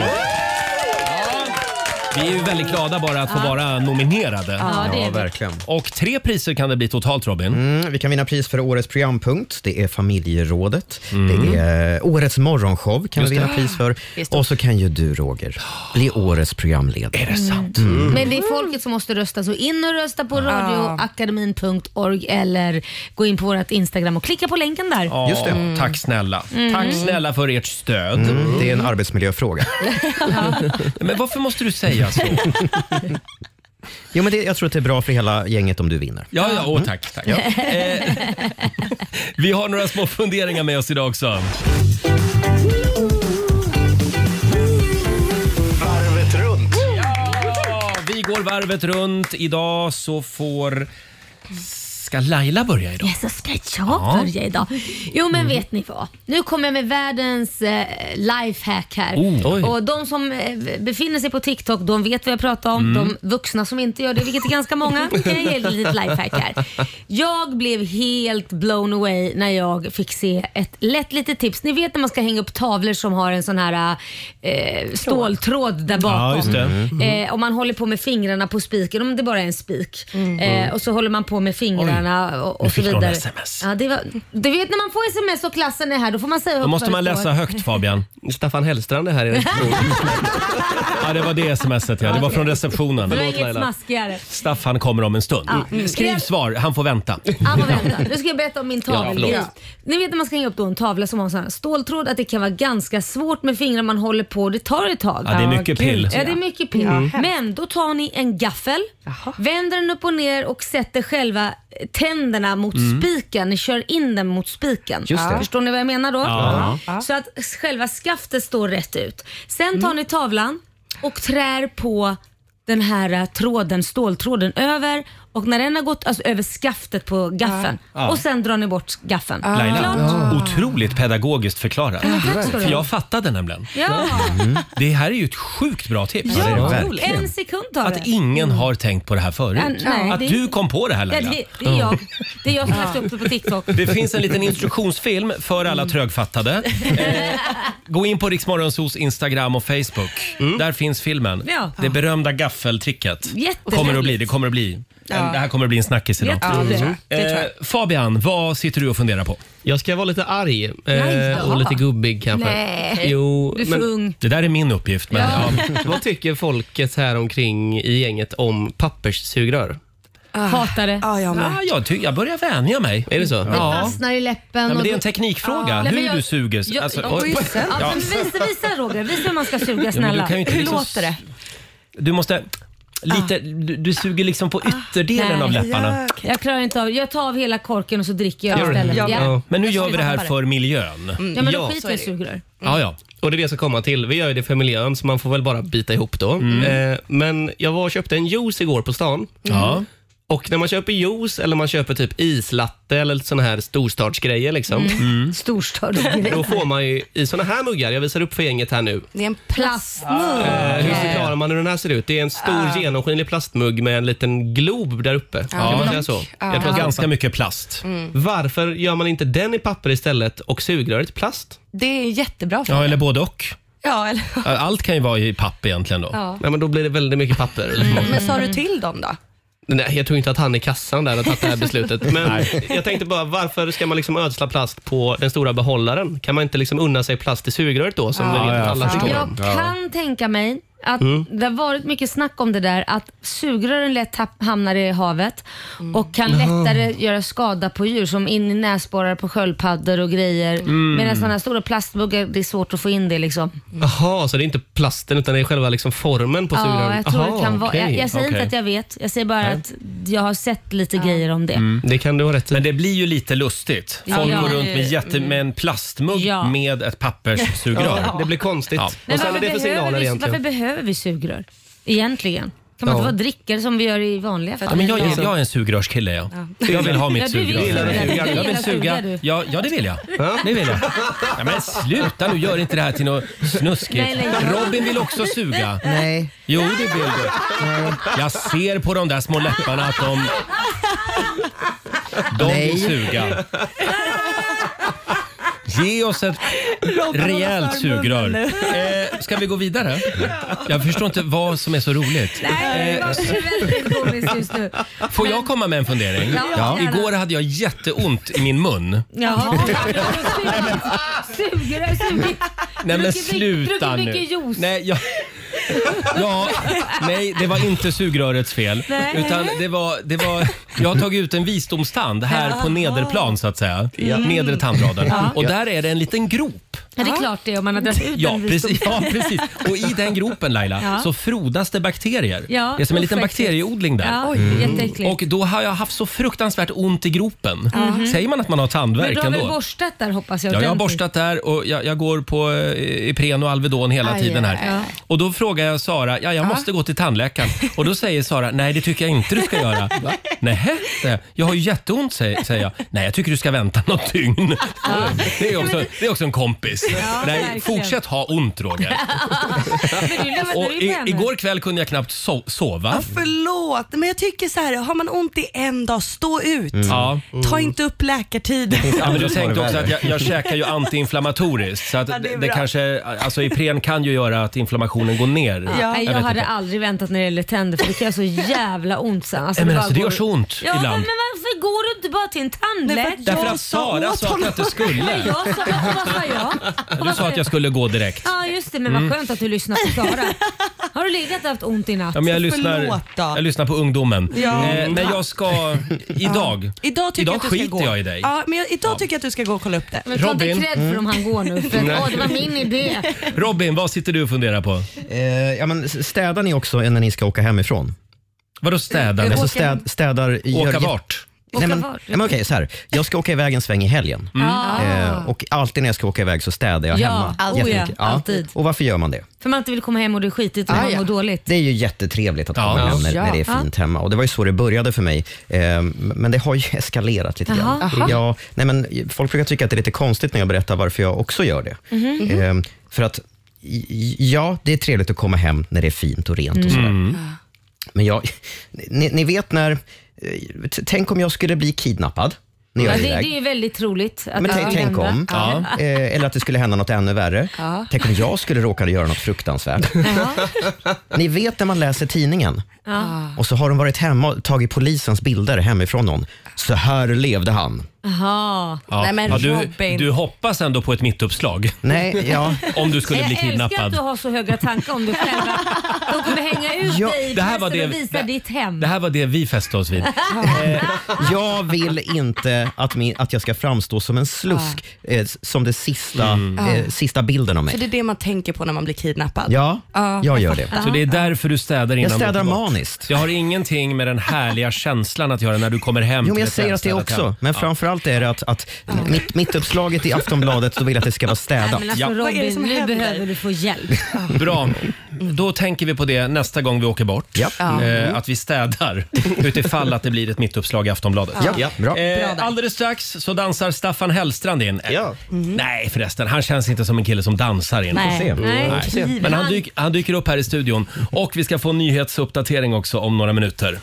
Vi är ju väldigt glada bara att få Ja. vara nominerade. Ja, det är Ja, vi. verkligen. Och tre priser kan det bli totalt Robin. Mm, vi kan vinna pris för årets programpunkt. Det är familjerådet. Det är eh, årets morgonshow kan vi Mm. Just vinna det. pris för. Just det. Och så kan ju du, Roger, bli årets programledare. Mm. Är det sant? Mm. Men det är folket som måste rösta, så in och rösta på radioakademin.org eller gå in på vårt Instagram och klicka på länken där. Ja, Mm. Tack snälla. Mm. Tack snälla för ert stöd. Det är en arbetsmiljöfråga. Men varför måste du säga så? Jo, men det, jag tror att det är bra för hela gänget om du vinner. Ja, ja, åh, tack. tack. Eh, vi har några små funderingar med oss idag också. Varvet runt. Ja, vi går varvet runt. Idag så får... Ska Laila börja idag? Ja, så ska jag Ja. börja idag. Jo men vet ni vad? Nu kommer jag med världens eh, lifehack här. Oh. Oj. Och de som eh, befinner sig på TikTok, de vet vad jag pratar om. Mm. De vuxna som inte gör det, vilket är ganska många, kan jag ge ett litet lifehack här. Jag blev helt blown away när jag fick se ett lätt litet tips. Ni vet när man ska hänga upp tavlor som har en sån här eh, ståltråd där bakom. Ja, just det. Mm. Mhm. Eh, och man håller på med fingrarna på spiken, om det bara är en spik. Mm. Eh, och så håller man på med fingrarna och, Nu och så fick hon vidare. SMS. Ja, det var, du vet när man får sms och klassen är här, då får man säga Då högt måste vad man det står. läsa högt Fabian. Staffan Hellstrand är här i Ja, det var det smset ja. Det var från receptionen. Det var inget smaskigare. Staffan kommer om en stund. Ja, mm. Skriv svar, han får vänta. Ja, men vänta. Nu ska jag berätta om min Ja, tavla. förlåt. Ni vet när man ska hänga upp då en tavla som har en sån här ståltråd att det kan vara ganska svårt med fingrar man håller på. Det tar ett tag. Ja, det är mycket gud, pill. Ja, det är mycket pill. Mm. Men då tar ni en gaffel, vänder den upp och ner och sätter själva eh, tänderna mot Mm. spiken. Ni kör in den mot spiken. Just det. Förstår ni vad jag menar då? Ja. Så att Mm. själva skaftet står rätt ut. Sen tar ni tavlan och trär på den här eh, tråden, ståltråden över och när den har gått alltså, över skaftet på gaffeln Ja. och sen drar ni bort gaffeln. Laila, Klart. otroligt pedagogiskt förklarat. Ja, tack ska För du ha. jag fattade nämligen. Ja. Det här är ju ett sjukt bra tips. Ja, en sekund tar det. Att ingen har tänkt på det här förut. Ja, nej, att det- du kom på det här Ja, Laila. det, det är jag. Det är jag som har lagt upp det på TikTok. Det finns en liten instruktionsfilm för Mm. alla trögfattade. Eh, gå in på Riksmorgonsos Instagram och Facebook. Där finns filmen. Mm. Ja. Det berömda gaffeltricket. Jätteroligt. Kommer att bli, det kommer att bli. en- Ja. Det här kommer att bli en snackis idag. Jätteroligt. Ja, det tror jag. Det tror jag. Eh, Fabian, vad sitter du och funderar på? Jag ska vara lite arg Nej, eh, och lite gubbig kanske. Nej. Jo, Du är för ung. Det där är min uppgift. men- Ja. Vad tycker folket här omkring i gänget om papperssugrör? Hatar det. Ah, jag Ja, jag, ty- jag börjar vänja mig. Är det så? Det fastnar i läppen. Ja, men och det är en då- teknikfråga, Nej, hur men jag- du suger. Jag, Alltså, ja, oj. ja, Ja. men visa, visa Roger, visa hur man ska Ja, men suga du snälla. kan ju inte hur liksom låter det? Du måste... Lite, du, du suger liksom på ytterdelen av läpparna. Jag klarar inte av Jag tar av hela korken och så dricker jag Gör du? istället. Ja. Men nu gör vi det här för Mm. miljön. Mm. Ja, men då skiter jag i Mm. sugrör. Ja, ja. Och det är det jag ska komma till. Vi gör ju det för miljön, så man får väl bara bita ihop då. Eh, men jag var och köpte en juice igår på stan. Mm. Mm. Ja. Och när man köper juice eller man köper typ islatte eller såna här storstadsgrejer liksom. Mm. Storstad. Då får man ju i såna här muggar, jag visar upp för gänget här nu. Det är en plastmugg. Eh, hur förklarar man hur den här ser ut? Det är en stor genomskinlig plastmugg med en liten glob där uppe. Kan man säga så? Ja. att- Ganska mycket plast. Varför gör man inte den i papper istället och sugröret i plast? Det är jättebra för Ja, eller både och. Ja, eller... Allt kan ju vara i papp egentligen då. Ja. Mm. Nej, men då blir det väldigt mycket papper. Mm. Mm. Men sa du till dem då? Nej, jag tror inte att han i kassan där har tagit det här beslutet. Men Nej. jag tänkte bara, varför ska man liksom ödsla plast på den stora behållaren? Kan man inte liksom unna sig plast i sugröret då, som vi Mm. vet att alla tycker jag om? kan tänka mig att Mm. det har varit mycket snack om det där att sugrören lätt tapp- hamnar i havet och kan Jaha. lättare göra skada på djur som in i näsborrar på sköldpaddor och grejer. Mm. Medan sådana här stora plastmuggar, det är svårt att få in det liksom. Jaha, så det är inte plasten utan det är själva liksom formen på sugröret? Ja, jag tror Aha, det kan vara. okej. Jag, jag säger Okej. inte att jag vet, jag säger bara Nej. att jag har sett lite grejer om det. Mm. Det kan du ha rätt Men det blir ju lite lustigt. Ja. Folk Ja. går runt med, jätte, med en plastmugg Ja. med ett papperssugrör. Ja, det blir konstigt. Men varför, behöver vi, varför behöver vi sugrör egentligen? Kan man Ja. inte bara dricka det som vi gör i vanliga Ja, fall? men jag, är- jag är en sugrörskille jag. Ja. Jag vill ha Ja, mitt du vill sugrör. suga, du Jag vill, gillar att suga, suga. du. Ja, ja, det vill jag. Det vill jag. Ja, men sluta nu, gör inte det här till något snuskigt. Nej, nej, jag- Robin vill också suga. Nej. Jo, det vill du. Jag ser på de där små läpparna att de... De Nej. vill suga. Ge oss ett rejält sugrör. Eh, ska vi gå vidare? Jag förstår inte vad som är så roligt. Nej, det Eh, var väldigt komiskt just nu. Får jag komma med en fundering? Ja, gärna. Igår hade jag jätteont i min mun. Jaha. Suger och sugit. Nej men Druckit mycket- sluta nu. druckit mycket juice. Nej, jag... Ja, nej, det var inte sugrörets fel. Nej. Utan det var, det var, jag har tagit ut en visdomstand här på nederplan så att säga. Mm. Nedre tandraden. Ja. Och där är det en liten grop. Ja, det är klart det om man har dragit ut Ja en visdom. precis, ja, precis. Och i den gropen Laila Ja. så frodas det bakterier. Ja, det är som en liten ofräckligt. bakterieodling där. Mm. Ja, oj, jätteäckligt. Och då har jag haft så fruktansvärt ont i gropen. Mhm. Säger man att man har Men tandvärk du har väl ändå? borstat där hoppas Ja, jag? jag har ordentligt. borstat där och jag, jag går på eh, Ipren och Alvedon hela Aj, tiden här. aj, aj. Och då frågar jag Sara, ja, jag måste gå till tandläkaren. Och då säger Sara, nej det tycker jag inte du ska göra. Nej, säger jag. jag har ju jätteont säger, säger jag. Nej, jag tycker du ska vänta något dygn. Det, är också, det är också en kompis. Ja, nej, verkligen. fortsätt ha ont Roger. Men du Och lyssnar ju i, på henne. igår kväll kunde jag knappt so- sova. Förlåt, men jag tycker så här, har man ont i en dag, stå ut. Mm. Ja. Ta inte upp läkartiden. Ja, men jag tänkte också att jag, jag käkar ju antiinflammatoriskt så att Ja, det är det, det bra. kanske, alltså Ipren kan ju göra att inflammationen går ner. Ja. Nej, jag vet hade inte. aldrig väntat när det gäller tänder för det kan göra så jävla ont sen. Nej, men bara alltså, det går- gör så ont ja, ibland. Men, men varför går du inte bara till en tandläkare? Därför att Sara sa att jag inte skulle. Nej, jag sa, vad vad sa jag? Du sa att jag skulle gå direkt. Ja just det, men vad Mm. skönt att du lyssnar på Sara. Har du legat och haft ont i natt? Ja, men jag, lyssnar, jag lyssnar på ungdomen. Ja. Eh, men jag ska... Idag, Idag, tycker idag jag att du skiter ska gå. jag i dig. Ja, men jag, idag tycker jag att du ska gå och kolla upp det. Men ta inte Robin? Mm. cred för om han går nu. för att, Nej. åh, det var min idé. Robin, vad sitter du och funderar på? Eh, ja, men s- städar ni också när ni ska åka hemifrån? Vadå städar ni? Alltså städ, städar, Åka gör- vart? Nej, men, vart? nej, men okej, så här. Jag ska åka iväg en sväng i helgen. Mm. Ah. Eh, och alltid när jag ska åka iväg så städar jag Ja, hemma. alltid. Jättemycket. Oh ja, alltid. Och varför gör man det? För man inte vill komma hem och det är skitigt Ah, och man mår dåligt. Det är ju jättetrevligt att Ja. komma hem när, Ja. när det är fint hemma. Och Det var ju så det började för mig. Eh, men det har ju eskalerat lite Jaha. grann. Jaha. Ja, nej, men folk brukar tycka att det är lite konstigt när jag berättar varför jag också gör det. Mhm. Mhm. Eh, för att, i- i- ja, det är trevligt att komma hem när det är fint och rent och sådär. Mm. Men jag, ni, ni vet när, eh, t- tänk om jag skulle bli kidnappad när Ja, jag är det, det iväg. är ju väldigt troligt att Men det tänk, skulle tänk om. hända. Ja. Eh, eller att det skulle hända något ännu värre. Ja. Tänk om jag skulle råka göra något fruktansvärt. Ni vet när man läser tidningen Ja. och så har de varit hemma och tagit polisens bilder hemifrån någon. Så här levde han. Jaha. Nej men du, Robin. du hoppas ändå på ett mittuppslag. Nej, ja. Om du skulle bli Jag älskar att kidnappad. du har så höga tankar om dig själv. De kommer hänga ut Ja, dig i det här var pressen och det- visa det- ditt hem. Det här var det vi fäste oss vid. Jag vill inte att, min, att jag ska framstå som en slusk, eh, s- som den sista, eh, Ja. sista bilden av Mm. För mig. det är det man tänker på när man blir kidnappad. Ja, jag gör det. fattar. Så det är därför du städar innan Jag du städar åker bort. maniskt. Jag har ingenting med den härliga känslan att göra när du kommer hem. Jo, men till jag ett säger att det välstädat hem. också, men Ja. framförallt är det att, att mitt, mitt uppslaget i Aftonbladet, då vill jag att det ska vara Nej, städat. men alltså Robin, nu behöver du få hjälp. Bra. Då tänker vi på det nästa gång vi åker bort. Ja. Mm. Eh, att vi städar utifall att det blir ett mittuppslag i Aftonbladet. Ja. Ja, bra. Bra Eh, alldeles strax så dansar Staffan Hellstrand in. Ja. Nej förresten, han känns inte som en kille som dansar in. Nej. Får se. Mm. Nej, får se. Men han, dyk, han dyker upp här i studion. Och vi ska få en nyhetsuppdatering också om några minuter.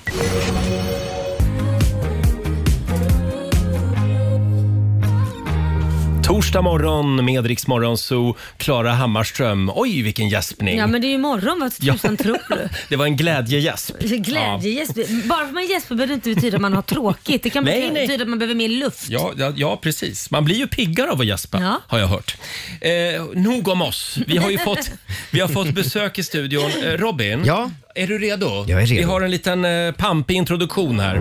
Torsdag morgon med Rix Morgon Zoo, Klara Hammarström. Oj, vilken gäspning! Ja men det är ju imorgon, vad Ja. tusan tror du? Det var en glädjegäsp. Glädje, gäsp- Bara för att man gäspar behöver det inte betyda att man har tråkigt. Det kan Nej, betyda nej. att man behöver mer luft. Ja, ja, ja, precis. Man blir ju piggare av att gäspa, Ja. har jag hört. Eh, nog om oss. Vi har ju fått, vi har fått besök i studion. Eh, Robin, ja? är du redo? Jag är redo. Mm. Vi har en liten eh, pampig introduktion här.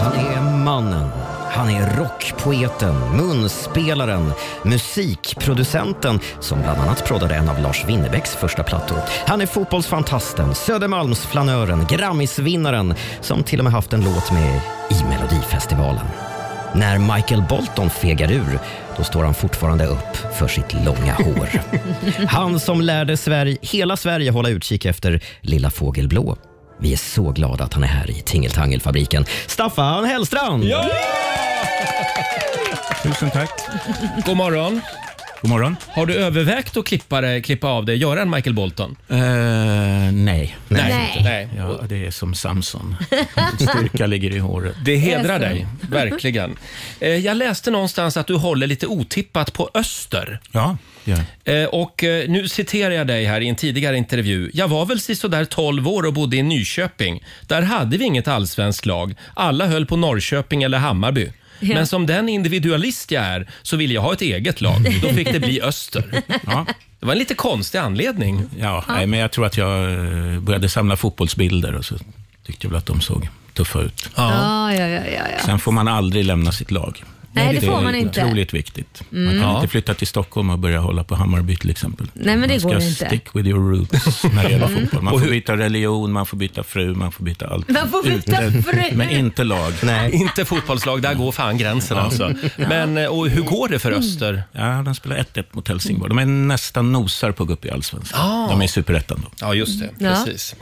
Han är mannen. Han är rockpoeten, munspelaren, musikproducenten som bland annat proddade en av Lars Winnerbäcks första plattor. Han är fotbollsfantasten, Södermalmsflanören, Grammisvinnaren som till och med haft en låt med i Melodifestivalen. När Michael Bolton fegar ur, då står han fortfarande upp för sitt långa hår. Han som lärde Sverige, hela Sverige hålla utkik efter Lilla Fågel Blå. Vi är så glada att han är här i Tingeltangelfabriken. Staffan Hellstrand! Tusen tack. God morgon. God morgon. Har du övervägt att klippa, dig- klippa av dig, göra en Michael Bolton? Eh, nej. Nej. Nej. Nej. Ja, det är som Samson. Mhm. Styrka ligger i håret. Det hedrar dig, verkligen. Eh, jag läste någonstans att du håller lite otippat på Öster. Ja. ja. Eh, Och eh, nu citerar jag dig här i en tidigare intervju. Jag var väl sådär 12 år och bodde i Nyköping. Där hade vi inget allsvenskt lag. Alla höll på Norrköping eller Hammarby. Ja. Men som den individualist jag är så ville jag ha ett eget lag. Då fick det bli Öster. Det var en lite konstig anledning. Ja, Nej, men jag tror att jag eh, började samla fotbollsbilder och så tyckte jag väl att de såg tuffa ut. Ja, ja, ja, ja, ja. Sen får man aldrig lämna sitt lag. Nej, det får man är inte. otroligt viktigt. Man Mm. kan Ja. inte flytta till Stockholm och börja hålla på Hammarby till exempel. Nej, men det man ska går inte. stick with your roots när det gäller Mm. fotboll. Man Och får hur- byta religion, man får byta fru, man får byta allt. Man får byta Ut- fru. Men inte lag. Nej. Inte fotbollslag, där går fan gränsen Ja. alltså. Men eh, och hur går det för Mm. Öster? Ja, de spelar 1-1 mot Helsingborg. De är nästan nosar på att gå upp i Allsvenskan. Ah. De är i Superettan då. Ja, just det. Ja. Precis.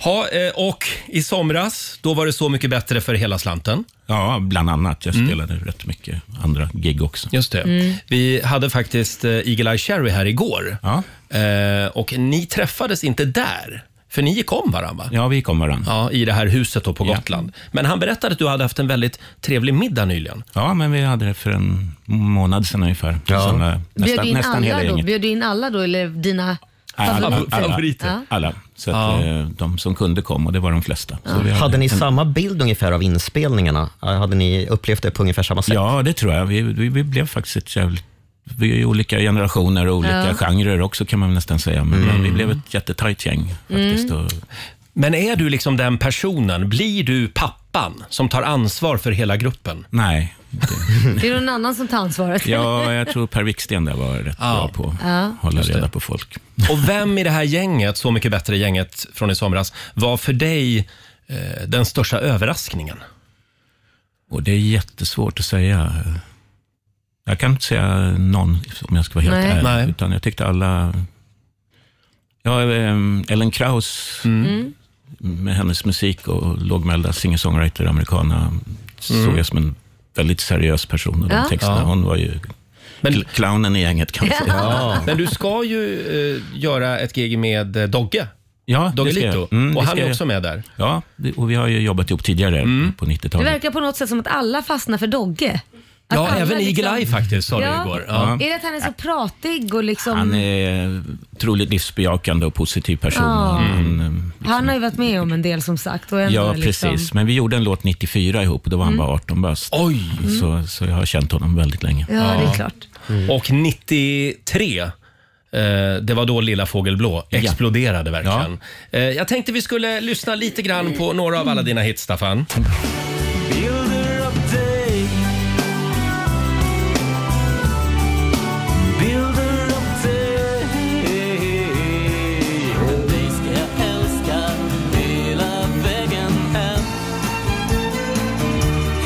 Ha, eh, och i somras, då var det Så mycket bättre för hela slanten. Mm. Ja, bland annat. Jag spelade rätt mycket andra gig också. Just det. Mm. Vi hade faktiskt eh, Eagle Eye Cherry här igår. Eh, och ni träffades inte där. För ni gick om varandra va? Ja, vi gick om varandra. Ja, I det här huset då på Gotland. Men han berättade att du hade haft en väldigt trevlig middag nyligen. Ja, men vi hade det för en månad sedan ungefär. Ja. Sen, eh, Bjöd nästan du in nästan hela alla då? gänget. Bjöd du in alla då eller dina Nej, alla, favoriter? alla, Ja. alla, alla. Så att, eh, de som kunde kom och det var de flesta. Så vi Hade ni en- samma bild ungefär av inspelningarna? Hade ni upplevt det på ungefär samma sätt? Ja, det tror jag. Vi, vi, vi blev faktiskt ett jävligt... Vi är ju olika generationer och olika Ja. genrer också kan man nästan säga. Men Mm. vi blev ett jättetajt gäng faktiskt. Mm. Och, Men är du liksom den personen? Blir du pappan som tar ansvar för hela gruppen? Nej. Det är någon annan som tar ansvaret. Ja, jag tror Per Wiksten där var rätt bra på att Ja. hålla reda på folk. Och vem i det här gänget, Så mycket bättre gänget från i somras, var för dig eh, den största överraskningen? Och det är jättesvårt att säga. Jag kan inte säga någon om jag ska vara helt Nej. ärlig. Nej. Utan jag tyckte alla... Ja, ehm, Ellen Krauss Mm. med hennes musik och lågmälda singer-songwriter amerikana såg jag som en väldigt seriös person. Och de Ja. texterna. Mm. Ja. Hon var ju Men... clownen i gänget kan man säga. Men du ska ju eh, göra ett gig med eh, Dogge. Ja, Dogge det ska jag. Lito. Mm, det och han ska är jag. också med där. Mm. Ja, det- och vi har ju jobbat ihop tidigare på Det 90-talet. verkar på något sätt som att alla fastnar för Dogge. Att Ja, alla liksom- även Eagle Eye faktiskt, sa du Ja. igår. Ja. Är det att han är så pratig och liksom... Han är otroligt livsbejakande och positiv person. Ja. Och Han, Han har ju varit med om en del som sagt. Och eh, ändå ja, är precis. liksom... Mm. Men vi gjorde en låt 94 ihop och då var han bara 18 bast. Oj! Så, så jag har känt honom väldigt länge. Ja, det är klart. Mm. Och 93, eh, det var då Lilla Fågel Blå exploderade verkligen. Eh, jag tänkte vi skulle lyssna lite grann på några av alla dina hits, Staffan. Bilder av dig Bilder av dig Dig ska jag älska hela vägen hem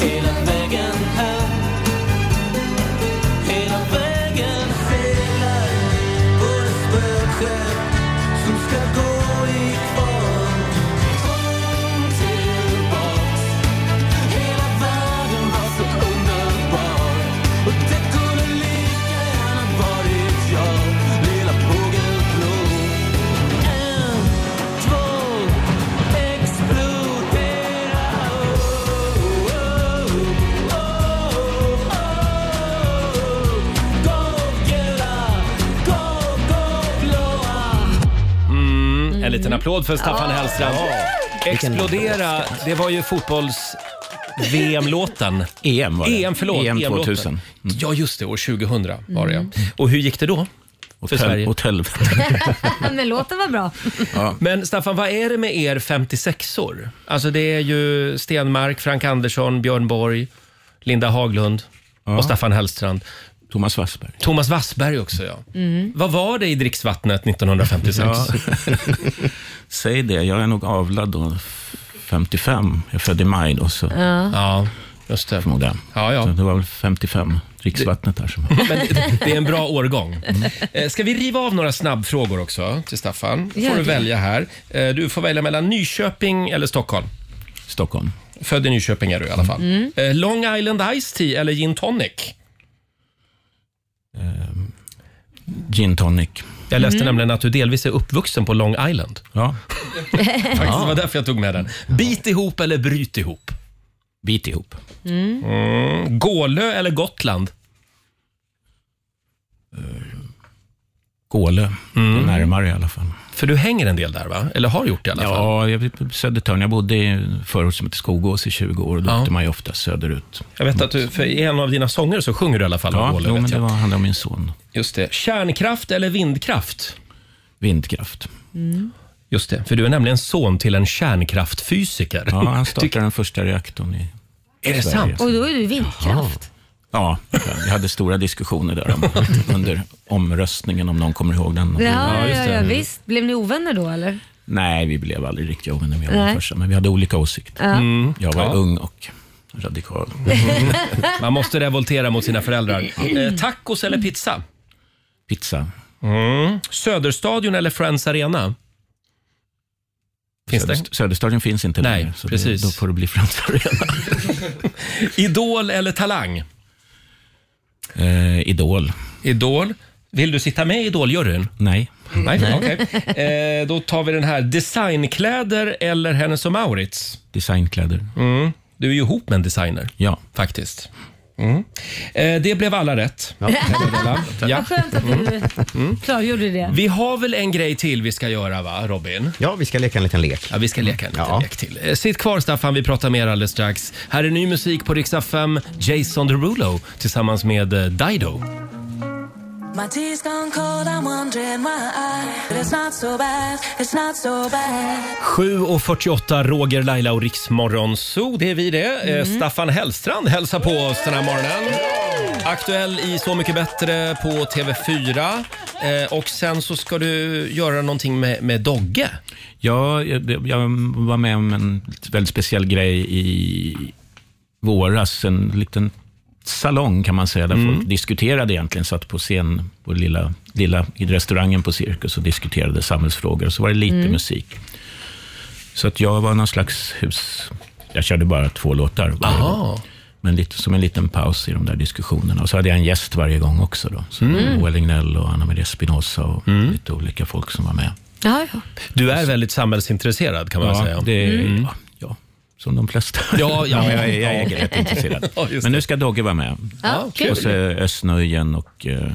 Hela vägen hem Hela vägen seglar våra spöken som ska gå i kvarn Kom tillbaks Hela världen var så underbar Och det kunde lika gärna varit jag Lilla fågelblå En, två, explodera oh, oh, oh, oh, oh. Gogela, go, go, blåa Mm, en liten applåd för Staffan Ja. Hellstrand. Ja. Explodera, det var ju fotbolls-VM-låten. EM E var det. EM, E förlåt. EM EM-låten. 2000. Ja, just det. År 2000 var det, ja. Mm. Och hur gick det då? För Sverige? Åt helvete. Men låten var bra. Men Staffan, vad är det med er 56-or? Alltså det är ju Stenmark, Frank Andersson, Björn Borg, Linda Haglund och Staffan Hellstrand. Thomas Wassberg. Thomas Wassberg också, ja. Vad var det i dricksvattnet 1956? Säg det, jag är nog avlad då. 55. Jag är född i maj då. Så. Ja. just det. Förmodligen. Ja, ja. Så det var väl 55, dricksvattnet där. Som... Men det- det är en bra årgång. Eh, Ska vi riva av några snabbfrågor också till Staffan? Gör får du det. välja här. Eh, Du får välja mellan Nyköping eller Stockholm. Stockholm. Född i Nyköping är du i alla fall. Mm. Eh, Long Island Ice Tea eller gin tonic? Eh, Gin tonic. Jag läste Mm. nämligen att du delvis är uppvuxen på Long Island. Ja. Faktiskt, det var därför jag tog med den. Bit ihop eller bryt ihop? Bit ihop. Mm. Mm. Gålö eller Gotland? Gålö. Mm. Det är närmare i alla fall. För du hänger en del där va? Eller har gjort det i alla fall? Ja, jag vet på Södertörn. Jag bodde i en förort som heter Skogås i 20 år och då Ja. åkte man ju ofta söderut. Jag vet att du, för i en av dina sånger så sjunger du i alla fall om Ja, Gålö. jo, vet men det jag. var, handlade om min son. Just det. Kärnkraft eller vindkraft? Vindkraft. Just det, för du är nämligen son till en kärnkraftfysiker. Ja, han startade Tyck- den första reaktorn i Är det Sverige. sant? Och då är du vindkraft. Ja, vi hade stora diskussioner där om, under omröstningen, om någon kommer ihåg den. Ja, ja, ja, ja, visst. Blev ni ovänner då eller? Mm. Nej, vi blev aldrig riktigt ovänner med Nej. honom första, men vi hade olika åsikter. Ja. Mm. Jag var Ja. ung och radikal. Man måste revoltera mot sina föräldrar. Eh, tacos eller pizza? Pizza. Mm. Söderstadion eller Friends Arena? Finns det? Söderst- Söderstadion finns inte Nej, längre, så precis. Det, då får det bli Friends Arena. Idol eller Talang? Eh, idol. Idol. Vill du sitta med i Idoljuryn? Nej. Nej, Nej. okej. Eh, då tar vi den här. Designkläder eller Hennes och Mauritz? Designkläder. Mm. Du är ju ihop med en designer. Ja. Faktiskt. Mm. Eh, det blev alla rätt. Ja. Vad skönt att du Mm. klargjorde det. Vi har väl en grej till vi ska göra, va, Robin? Ja, vi ska leka en liten lek. Ja, vi ska leka en liten lek till. Eh, Sitt kvar, Staffan. Vi pratar mer alldeles strax. Här är ny musik på Rix FM. Jason Derulo tillsammans med eh, Dido. My tea's gone cold, I'm wondering why. But it's not so bad, it's not so bad. 7.48, Roger, Laila och Riksmorgon Zoo. Det är vi det. Eh, Staffan Hellstrand hälsar på oss den här morgonen. Aktuell i Så mycket bättre på TV4. Eh, och sen så ska du göra någonting med, med Dogge. Ja, jag, jag var med om en väldigt speciell grej i våras. En liten salong kan man säga, där Mm. folk diskuterade egentligen. Satt på scen på lilla, lilla, i restaurangen på Cirkus och diskuterade samhällsfrågor. Och så var det lite Mm. musik. Så att jag var någon slags hus... Jag körde bara två låtar. varje Aha. gång. Men lite, som en liten paus i de där diskussionerna. Och så hade jag en gäst varje gång också. Då. Så Mm. det var Noel Lignell och Anna Maria Spinoza och Mm. lite olika folk som var med. Ja, ja. Du är väldigt samhällsintresserad kan man ja, säga. Det, Mm. ja, ja, som de flesta. Ja, ja. men jag, är- jag är rätt intresserad. men nu ska Dogge vara med. Ja, och kul. så Ösnöjen och eh,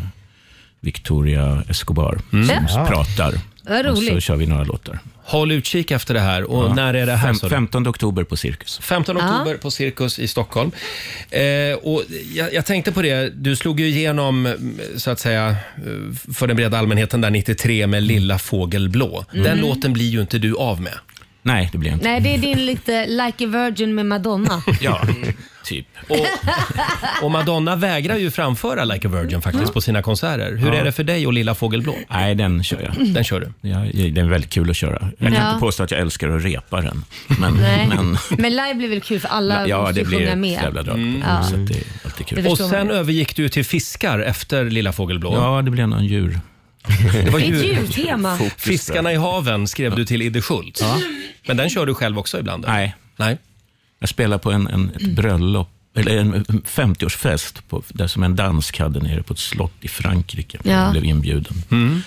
Victoria Escobar Mm. som Ja. pratar. Vad Och så roligt. kör vi några låtar. Håll utkik efter det här. Och Ja. när är det här? Fem- sa du? 15 oktober på Cirkus. 15 oktober på Cirkus i Stockholm. Eh, och jag, jag tänkte på det, du slog ju igenom mm, så att säga eh, för den breda allmänheten där 93 med Lilla fågel blå. Mm. Den låten blir ju inte du av med. Nej, det blir jag Nej, det är din lite Like a Virgin med Madonna. Ja, typ. Och, och Madonna vägrar ju framföra Like a Virgin faktiskt på sina konserter. Hur Ja. är det för dig och Lilla fågel blå? Nej, den kör jag. Den kör du? Ja, den är väldigt kul att köra. Jag kan Ja. inte påstå att jag älskar att repa den. Men, Nej. men Men live blir väl kul för alla ja, måste det ju blir sjunga ett med. jävla drag. Mm. Ja. Mm, Så att det är alltid kul. Det Och förstår sen man. övergick du till fiskar efter Lilla fågel blå. Ja, det blev någon djur. Det var Det är ett djur. djurtema. Fokus där. Fiskarna i haven skrev du till Idde Schultz. Men den kör du själv också ibland? eller? Nej. Nej. Jag spelade på en, en, ett Mm. bröllop, eller en 50-årsfest, på, där som en dansk hade nere på ett slott i Frankrike. Ja. Jag blev inbjuden. Mm.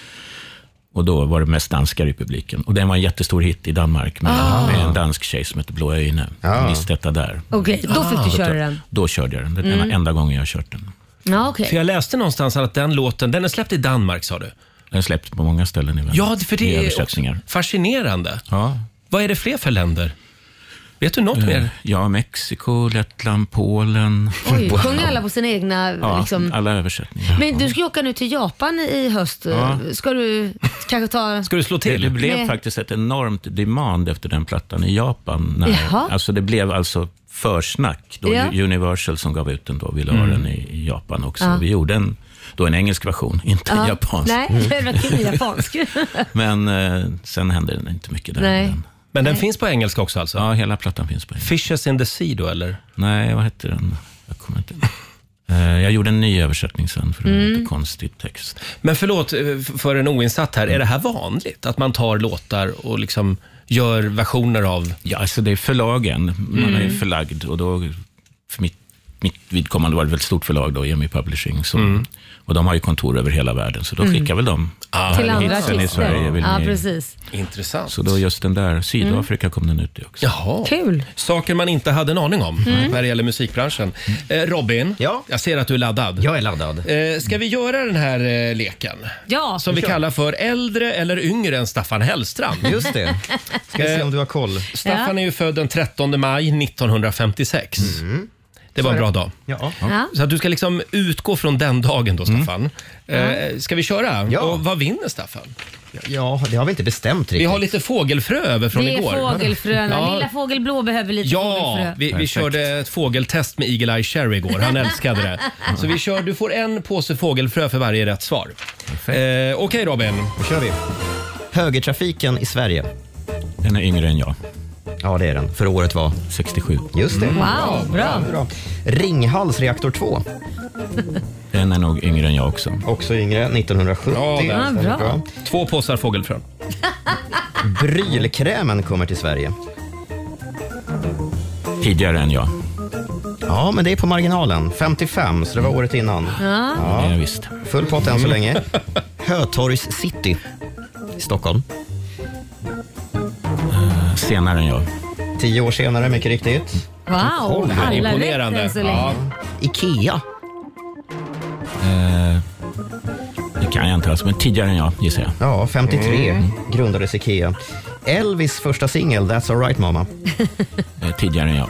Och då var det mest danskar i publiken. Och den var en jättestor hit i Danmark med, Ah. med en dansk tjej som hette Blå Öjne. Ah. Ja. detta där. Okej, då fick du Så köra att jag- den. Då körde jag den. Det är den Mm. enda gången jag har kört den. Ja, okej. För jag läste någonstans att den låten, den är släppt i Danmark sa du? Den släpps på många ställen i världen. Ja, för I det är också översättningar. fascinerande. Ja. Vad är det fler för länder? Vet du något mer? Eh, Ja, Mexiko, Lettland, Polen. Oj, sjunger alla på sina egna... Ja, liksom. alla översättningar. Men du ska ju åka nu till Japan i höst. Ja. Ska du kanske ta... Ska du slå Det, det blev Nej. faktiskt ett enormt demand efter den plattan i Japan. Jaha. När, alltså det blev alltså försnack. Då Ja. Universal som gav ut den då ville ha Mm. den i, i Japan också. Ja. Vi gjorde en, då en engelsk version, inte en Ja. japansk. Nej, det var kul japansk. Men eh, sen hände det inte mycket där. Nej. Men den finns på engelska också alltså? Ja, hela plattan finns på engelska. Fishes in the sea då eller? Nej, vad hette den? Jag kommer inte Eh, Jag gjorde en ny översättning sen för det var Mm. lite konstig text. Men förlåt eh, f- för en oinsatt här, är det här vanligt? Att man tar låtar och liksom gör versioner av? Ja, alltså det är förlagen. Man är ju Mm. förlagd och då, för mitt, mitt vidkommande var det ett väldigt stort förlag då, EMI Publishing. Som, Och de har ju kontor över hela världen, så då Mm. skickar väl de Ah, till eh, andra hitsen i Sverige. artister. Vill Ja, ni? precis. Mm. Intressant. Så då just den där, Sydafrika kom den ut i också. Jaha. Kul. Saker man inte hade en aning om Mm. när det gäller musikbranschen. Mm. Eh, Robin, jag ser att du är laddad. Jag är laddad. Eh, ska vi göra den här eh, leken? Ja. Som vi kallar för äldre eller yngre än Staffan Hellstrand. Just det. Ska vi se om du har koll. Staffan är ju född den 13 maj 1956. Det var en Mm. Så bra är det. dag. Ja. Mm. Ja. Så att du ska liksom utgå från den dagen då, Staffan. Eh, ska vi köra? Ja. Och vad vinner Staffan? Ja, det har vi inte bestämt riktigt. Vi har lite fågelfrö över från det är igår. fågelfröna. Ja. Lilla fågel blå behöver lite Ja, fågelfrö. vi, vi Perfekt. körde ett fågeltest med Eagle-Eye Cherry igår. Han älskade det. Så vi kör, du får en påse fågelfrö för varje rätt svar. Eh, Okej Robin. Då kör vi. Högertrafiken i Sverige. Den är yngre än jag. Ja, det är den. För året var? 67. Just det. Mm. Wow, bra. Ringhals reaktor 2. Den är nog yngre än jag också. Också yngre, 1970. Ja, där. Ja, bra. Två påsar fågelfrön. Brylkrämen kommer till Sverige. Tidigare än jag. Ja, men det är på marginalen. 55, så det var året innan. Ja. Ja, visst. Mm. Full pott än så länge. Hötorgs city i Stockholm. Eh, Senare än jag. Tio år senare, mycket riktigt. Wow, Kolla, alla rätt än så länge. Ikea. Eh, det kan jag inte alls, men tidigare än jag gissar jag. Ja, 53 Mm. grundades Ikea. Elvis första singel, That's alright mamma. Eh, tidigare än jag.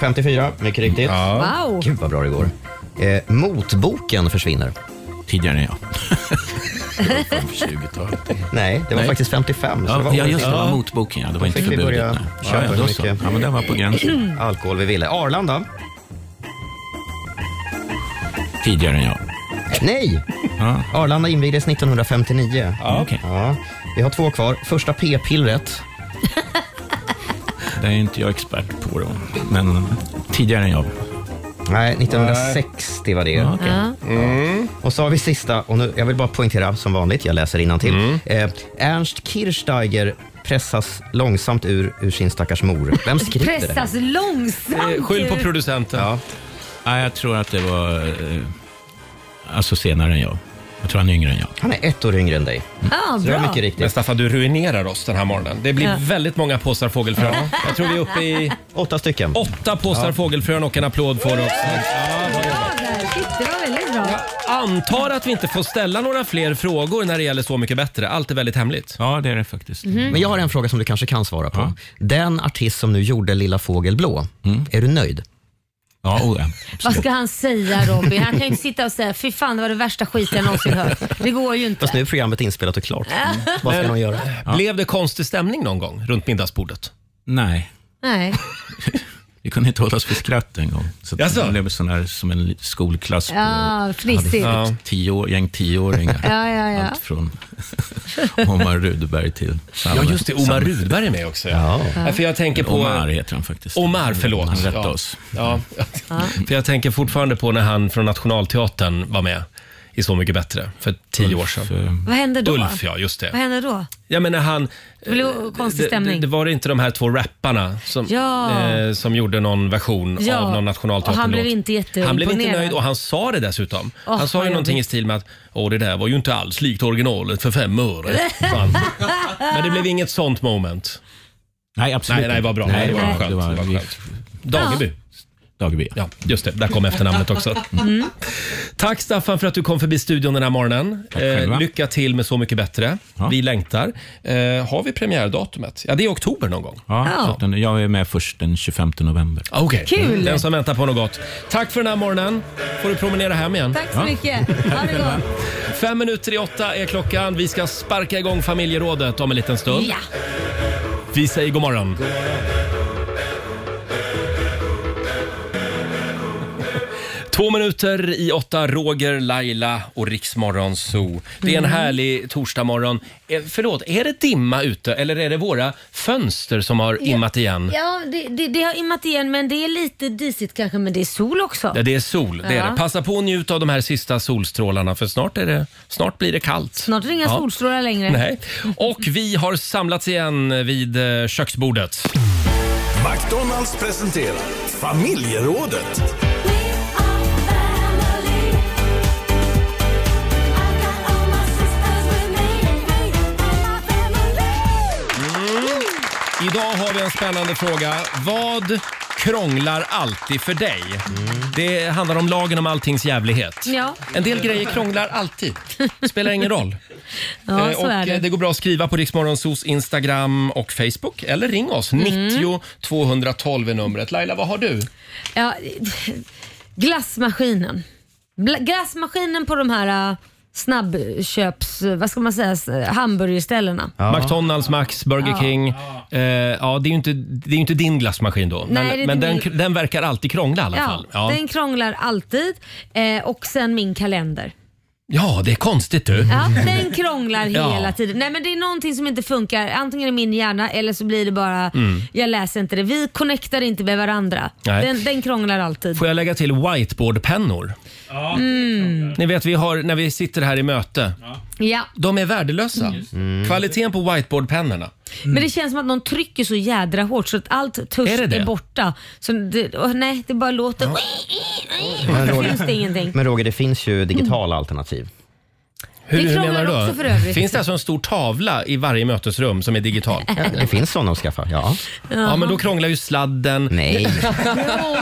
54, mycket riktigt. Wow. Gud vad bra det går. Eh, motboken försvinner. Tidigare än jag. Nej, det var Nej. faktiskt 55. så Ja, det var ja, just det, det var året. motboken. Ja. Det var Då inte fick vi förbjudet. börja nej. köpa ja, ja, då hur så. mycket- ja, men den var på gränsen. Alkohol vi ville. Arlanda? Tidigare än jag. Nej! Arlanda invigdes 1959. Ja, okej. Ja. Vi har två kvar. Första p-pillret. är inte jag expert på då, men tidigare än jag. Nej, 1960 Eh, var det. Ja, okej. Ja. Mm. Och så har vi sista, och nu, jag vill bara poängtera som vanligt, jag läser innantill. Mm. Eh, Ernst Kirchsteiger pressas långsamt ur, ur sin stackars mor. Vem skriver det? här? Pressas långsamt ju. producenten. Ja. Nej, jag tror att det var eh, alltså senare än jag. Jag tror han är yngre än jag. Han är ett år yngre än dig. Ja, bra. Men Staffan, du ruinerar oss den här morgonen. Det blir Ja. väldigt många påsar fågelfrön. Jag tror vi är uppe i... Åtta stycken. Åtta påsar Ja. fågelfrön och en applåd får oss. Bra där. Shit, det var väldigt bra. Antar att vi inte får ställa några fler frågor när det gäller Så mycket bättre. Allt är väldigt hemligt. Ja, det är det faktiskt. Mhm. Men jag har en fråga som du kanske kan svara på. Den artist som nu gjorde Lilla Fågel Blå, Mm. är du nöjd? Eh, Ja, oh Vad ska han säga Robin? Han kan ju inte sitta och säga fy fan det var det värsta skiten jag någonsin hört. Det går ju inte. Fast nu är programmet inspelat och klart. Vad ska Men- de göra? Blev det konstig stämning någon gång runt middagsbordet? Nej, Nej. vi kunde inte hålla oss för skratt en gång. Så att Jaså? det blev sån här, som en li- skolklass. på- Ja, fnissigt. Ja. Tio år, gäng tioåringar. Ja, ja, ja. Allt från Omar Rudberg till Salme. Ja, just det. Omar Rudberg är med också. Ja. Ja. För jag tänker på... Omar heter han faktiskt. Omar, förlåt. Han rättade ja. oss. Mm. Ja. För jag tänker fortfarande på när han från Nationalteatern var med i Så mycket bättre för tio år sedan. eh, Vad hände då? Ulf, ja just det. Vad hände då? Ja, men när han, eh, Det blev konstig det, det, stämning. det var inte de här två rapparna som, Ja. eh, som gjorde någon version Ja, av någon och han blev nationalteaterlåt. inte jätteimponerad. Han blev inte nöjd och han sa det dessutom. Åh, han sa vad ju någonting i jobbigt. stil med att Åh, det där var ju inte alls likt originalet för fem öre. Fan. men det blev inget sånt moment. Nej, absolut Nej, nej, vad bra. Nej, Det var nej. skönt. Det var, Det var skönt. Dageby. Dageby, ja. Just det, där kom efternamnet också. Tack Staffan för att du kom förbi studion den här morgonen. Eh, själva. lycka till med Så mycket bättre. Vi längtar. Eh, har vi premiärdatumet? Ja, det är oktober någon gång. Ja, Ja. Så att den, jag är med först den 25 november. Ah, Okej, Mm. Kul. den som väntar på något gott. Tack för den här morgonen. får du promenera hem igen. Tack så mycket. Ha det gott. Fem minuter i åtta är klockan. Vi ska sparka igång familjerådet om en liten stund. Ja. Vi säger god morgon. Två minuter i åtta, Roger, Laila och Riksmorgon Zoo. Det är en Mm. härlig torsdagmorgon. Eh, Förlåt, är det dimma ute eller är det våra fönster som har immat igen? Ja, det, det, det har immat igen men det är lite disigt kanske men det är sol också. Ja, det är sol, det är Ja. det. Passa på att njuta av de här sista solstrålarna för snart, är det, snart blir det kallt. Snart är det inga Ja. solstrålar längre. Nej. Och vi har samlats igen vid eh, köksbordet. McDonalds presenterar familjerådet. Mm. Idag har vi en spännande fråga. Vad krånglar alltid för dig? Mm. Det handlar om lagen om alltings jävlighet. Ja. En del grejer krånglar alltid. Spelar ingen roll. Ja, Eh, så och är eh, det. det går bra att skriva på Riksmorgonsos Instagram och Facebook eller ring oss. Mm. 90 212 är numret. Laila, vad har du? Ja, glassmaskinen. Bla- Glassmaskinen på de här äh, snabbköps... Vad ska man säga? s- Hamburgerställena. McDonalds, Max, Burger Ja. King. Eh, ja, det är ju inte, det är ju inte din glassmaskin då. Nej, det men är men inte den, min. den verkar alltid krångla i alla fall. Ja, Den krånglar alltid. Eh, och sen min kalender. ja, det är konstigt du. Ja, den krånglar Ja. hela tiden. Nej men Det är någonting som inte funkar. Antingen i min hjärna eller så blir det bara, Mm. jag läser inte det. Vi connectar inte med varandra. Nej. Den, den krånglar alltid. Får jag lägga till whiteboardpennor? Mm. Ni vet, vi har, när vi sitter här i möte. Ja. Mm. De är värdelösa. Mm. Kvaliteten på whiteboardpennorna. Men det känns som att någon trycker så jädra hårt så att allt tusch Mm. Är det är, det? borta. Så det, åh, nej, det bara låter... Men Så Roger- finns det ingenting. Mm. Men Roger, det finns ju digitala alternativ. Hur, Det hur krånglar menar du? då? också för övrigt. Finns det alltså en stor tavla i varje mötesrum som är digital? Det finns sådana att skaffa, ja. Ja, men då krånglar ju sladden. Nej. Jo,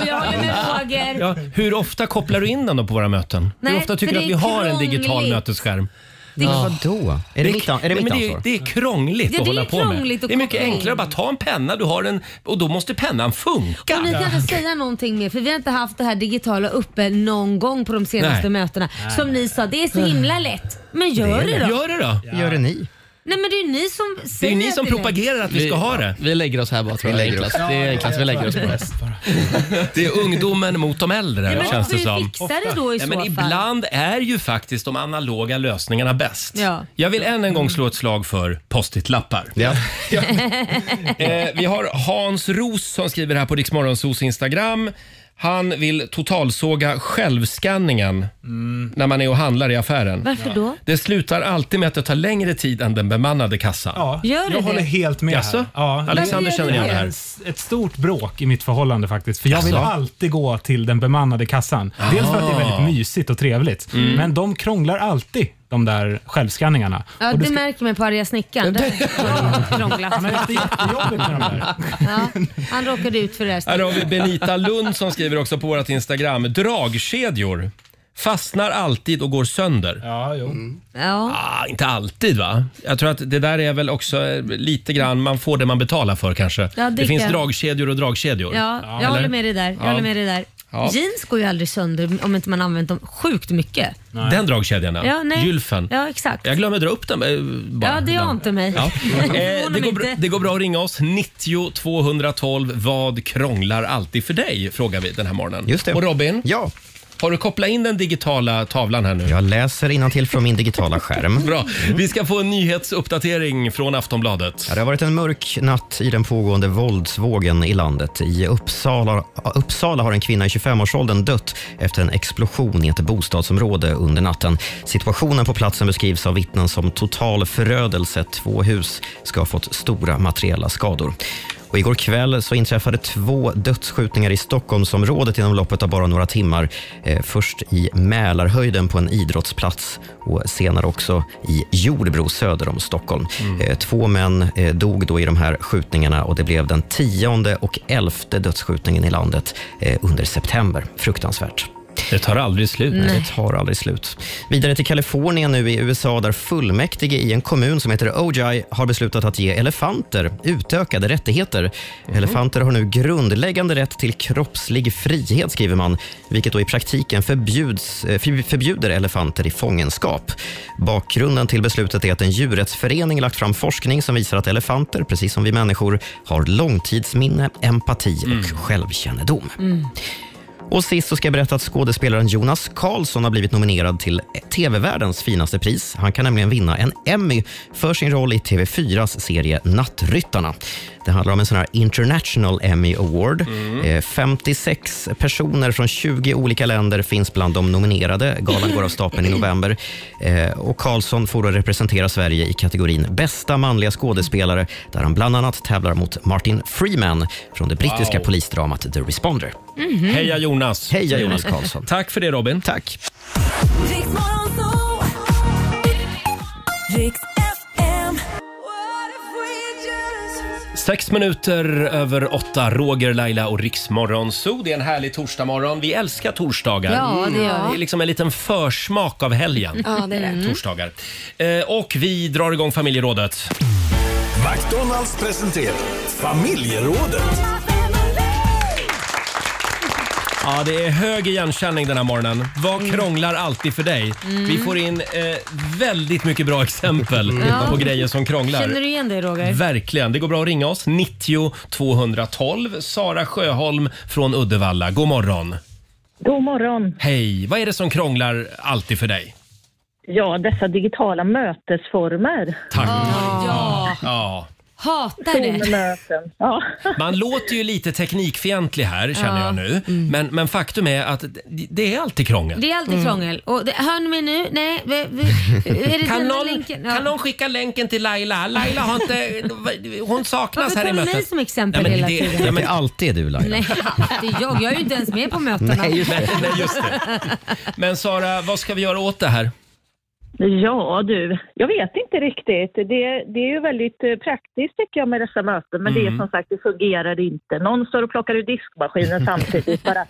jag håller med Roger. Ja, hur ofta kopplar du in den då på våra möten? hur Nej, ofta tycker för du att det vi är har en digital krångligt. mötesskärm? Det är- Vadå? Är det mitt an- är det Nej, mitt men ansvar? Det är, det är krångligt Ja, att det hålla är på med. krångligt att Det är mycket koppla in. enklare att bara ta en penna, du har en, och då måste pennan funka. Och ni kan inte säga någonting mer för vi har inte haft det här digitala uppe någon gång på de senaste Nej. mötena. Som ni sa, det är så himla lätt. Men gör det, då. Gör det då. Gör det ni. Nej men det är ju ni som Det är säger ju ni som det är- propagerar att vi ska ha det. Vi lägger oss här bara tror jag. Vi lägger enklast. oss. Det är Ja, enklast. Vi jag lägger oss tror på det. Det är ungdomen mot de äldre Ja, men känns det hur som. fixar det då i ja, så men fall? Ibland är ju faktiskt de analoga lösningarna bäst. Ja. Jag vill än en gång slå ett slag för post-it-lappar. Eh, vi har Hans Ros som skriver här på Riksmorgonsos Instagram. Han vill totalsåga självskanningen när man är och handlar i affären. Mm. Varför då? Det slutar alltid med att det tar längre tid än den bemannade kassan. Ja, Gör det jag håller det? helt med Jaså? här. Ja, Alexander det- känner igen det här. är Ett stort bråk i mitt förhållande faktiskt. För jag vill Jaså? alltid gå till den bemannade kassan. Dels för att det är Ah. väldigt mysigt och trevligt. Mm. Men de krånglar alltid, de där självskanningarna. Ja, och du det ska- märker man på arga snickaren. Där har det krånglat. Ja, Han råkade ut för det här. Här har vi Benita Lund som skriver också på vårt Instagram. Dragkedjor fastnar alltid och går sönder. Ja, jo. Ja. Ah, inte alltid va? Jag tror att det där är väl också eh, lite grann, man får det man betalar för kanske. det det finns kan- dragkedjor och dragkedjor. Ja, jag håller med dig där. Jag Ja. håller med dig där. Ja. Jeans går ju aldrig sönder om inte man använt dem sjukt mycket. Den dragkedjan Ja, nej. Gylfen. Ja, exakt. Jag glömmer dra upp den eh, bara. ja, det ibland. ante mig. Ja. Eh, Förvånar det, mig går bra, inte. det går bra att ringa oss. 90 212. Vad krånglar alltid för dig? Frågar vi den här morgonen. Just det. Och Robin? Ja. Har du kopplat in den digitala tavlan här nu? Jag läser till från min digitala skärm. Bra. Vi ska få en nyhetsuppdatering från Aftonbladet. Ja, det har varit en mörk natt i den pågående våldsvågen i landet. I Uppsala, Uppsala har en kvinna i 25-årsåldern dött efter en explosion i ett bostadsområde under natten. Situationen på platsen beskrivs av vittnen som total förödelse. Två hus ska ha fått stora materiella skador. Och igår kväll så inträffade två dödsskjutningar i Stockholmsområdet inom loppet av bara några timmar. Eh, först i Mälarhöjden på en idrottsplats och senare också i Jordbro söder om Stockholm. Mm. Eh, två män eh, dog då i de här skjutningarna och det blev den tionde och elfte dödsskjutningen i landet eh, under september. Fruktansvärt. Det tar aldrig slut. Nej. Nej. Det tar aldrig slut. Vidare till Kalifornien nu i USA där fullmäktige i en kommun som heter Ojai har beslutat att ge elefanter utökade rättigheter. Elefanter har nu grundläggande rätt till kroppslig frihet skriver man, vilket då i praktiken förbjuds, eh, förb- förbjuder elefanter i fångenskap. Bakgrunden till beslutet är att en djurrättsförening lagt fram forskning som visar att elefanter, precis som vi människor, har långtidsminne, empati och självkännedom. Mm. Och sist så ska jag berätta att skådespelaren Jonas Karlsson har blivit nominerad till TV-världens finaste pris. Han kan nämligen vinna en Emmy för sin roll i TV4s serie Nattryttarna. Det handlar om en sån här International Emmy Award. Eh, 56 personer från 20 olika länder finns bland de nominerade. Galan går av stapeln i november. Eh, Och Karlsson får då representera Sverige i kategorin bästa manliga skådespelare där han bland annat tävlar mot Martin Freeman från det brittiska Wow. polisdramat The Responder. Mhm. Heja Jonas! Heja Jonas Karlsson. Tack för det Robin. Tack. Sex minuter över åtta, Roger, Laila och Riksmorgon Zoo. Det är en härlig torsdagmorgon. Vi älskar torsdagar. Ja, det gör vi. är liksom en liten försmak av helgen. Ja, det är det. Mm. Torsdagar. Eh, och vi drar igång familjerådet. McDonalds presenterar familjerådet. Ja, det är hög igenkänning den här morgonen. Vad Mm. krånglar alltid för dig? Mm. Vi får in eh, väldigt mycket bra exempel Mm. Ja. på grejer som krånglar. Känner du igen dig Roger? Verkligen. Det går bra att ringa oss. 90 212. Sara Sjöholm från Uddevalla. God morgon. God morgon. Hej. Vad är det som krånglar alltid för dig? Ja, dessa digitala mötesformer. Tack. Ah, Ja. Ja. Hatar det. Zoom-möten. Ja. Man låter ju lite teknikfientlig här känner Ja. jag nu. Men, men faktum är att det- det är alltid krångel. Mm. Mm. Det är alltid krångel. Och det, hör ni mig nu? Nej, vi, vi, är det Kan den någon- länken? kan någon skicka länken till Laila? Laila har inte... Hon saknas Varför här i tar du mötet. mig som exempel Nej, hela tiden? Det är alltid du Laila. Nej, det är jag. Jag är ju inte ens med på mötena. Nej, just det. Nej, just Men Sara, vad ska vi göra åt det här? Ja du, jag vet inte riktigt. Det, det är ju väldigt eh, praktiskt tycker jag med dessa möten, men det är Mm. som sagt, det fungerar inte. Någon står och plockar ur diskmaskinen samtidigt bara.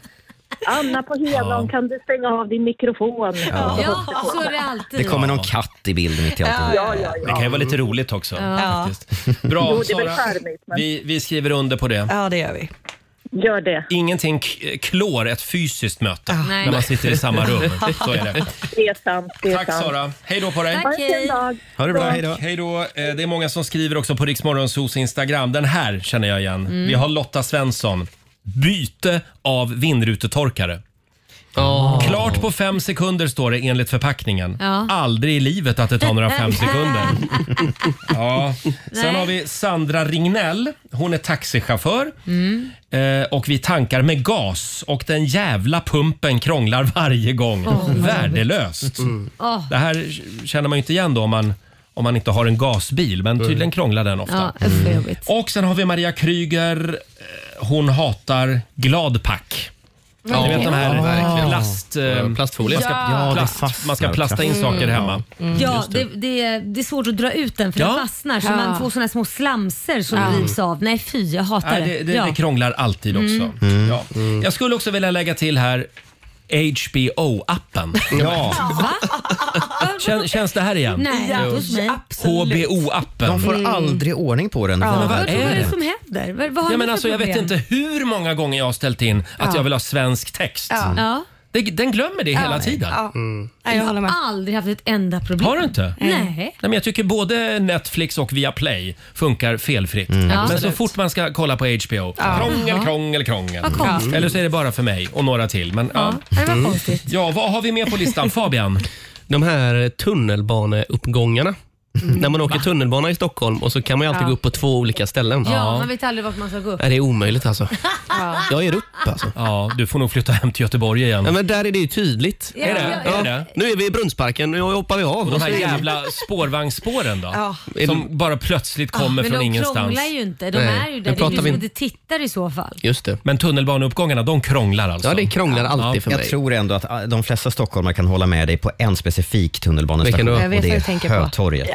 Anna på Hedlund, kan du stänga av din mikrofon? Ja. Ja, så är det alltid. Det kommer någon katt i bild mitt i allt. Ja, ja, ja. Det kan ju vara lite roligt också. Ja. Faktiskt. Bra Jo, det är väl Sara, charmigt, men- vi, vi skriver under på det. Ja, det gör vi. Gör det. Ingenting k- klår ett fysiskt möte Ah, nej. när man sitter i samma rum. Så är det. Det är sant. Det är Tack, sant. Sara. Hej då på dig. Ha en fin dag. Ha det bra, hej då. Hej då. Eh, Det är många som skriver också på Riksmorgonsos Instagram. Den här känner jag igen. Mm. Vi har Lotta Svensson. Byte av vindrutetorkare. Klart på fem sekunder står det enligt förpackningen. Ja. Aldrig i livet att det tar några fem sekunder. Ja. Sen Nej. har vi Sandra Ringnell. Hon är taxichaufför. Mm. Eh, och vi tankar med gas och den jävla pumpen krånglar varje gång. Åh, vad Mm. Värdelöst. Åh. Det här känner man ju inte igen då om man, om man inte har en gasbil, men Mm. tydligen krånglar den ofta. Ja, usch vad jobbigt. Och sen har vi Maria Kryger. Eh, Hon hatar gladpack. Ja, Ni vet de här ja, verkligen. plast, eh, Plastfolie. Man ska, Ja. Ja, det plast, man ska plasta in saker Mm. hemma. Mm, Ja, det. Det, är, det är svårt att dra ut den för Ja. den fastnar så Ja. man får såna små slamser som Mm. rivs av. Nej fy, jag hatar Nej, det. det, det, ja. det krånglar alltid också. Mm. Ja. Jag skulle också vilja lägga till här HBO-appen. Ja. Kän, känns det här igen? Nej, Jo. inte hos mig. HBO-appen. De får Mm. aldrig ordning på den. Ja, men vad Vad tror du är det det? som händer? Vad, vad har Ja, ni men för alltså, jag vet problem? inte hur många gånger jag har ställt in att Ja. jag vill ha svensk text. Ja. Ja. Det, den glömmer det Ja. hela tiden. Ja. Mm. Jag har aldrig haft ett enda problem. Har du inte? Nej. Nej, men jag tycker både Netflix och Viaplay funkar felfritt. Mm. Ja. Men så Absolut. fort man ska kolla på HBO, Ja. krångel, Ja. krångel, krångel. Vad konstigt. Eller så är det bara för mig och några till. Men, ja. Ja, det var konstigt. Ja, vad har vi mer på listan? Fabian? De här tunnelbaneuppgångarna. När man åker tunnelbana i Stockholm och så kan man ju alltid Mm. Ja. gå upp på två olika ställen. Ja, man vet aldrig vart man ska gå upp. Nej, det är omöjligt alltså. Ja. Jag ger upp alltså. Ja, du får nog flytta hem till Göteborg igen. Ja, men där är det ju tydligt. Ja, Är det? ja, ja. Är det? Nu är vi i Brunnsparken, nu hoppar vi av. Och de här Så är det- jävla spårvagnsspåren då? Ja. Som bara plötsligt kommer Ah, men från de ingenstans. krånglar ju inte. De Nej. är ju Nu där. Det är pratar du som vi- inte tittar i så fall. Just det. Men tunnelbaneuppgångarna, de krånglar alltså? Ja, det krånglar alltid för jag mig. tror ändå att ah, de flesta stockholmare kan hålla med dig på en specifik tunnelbanestation. Vilken då? Och Jag vet det vad är du tänker på. Hötorget.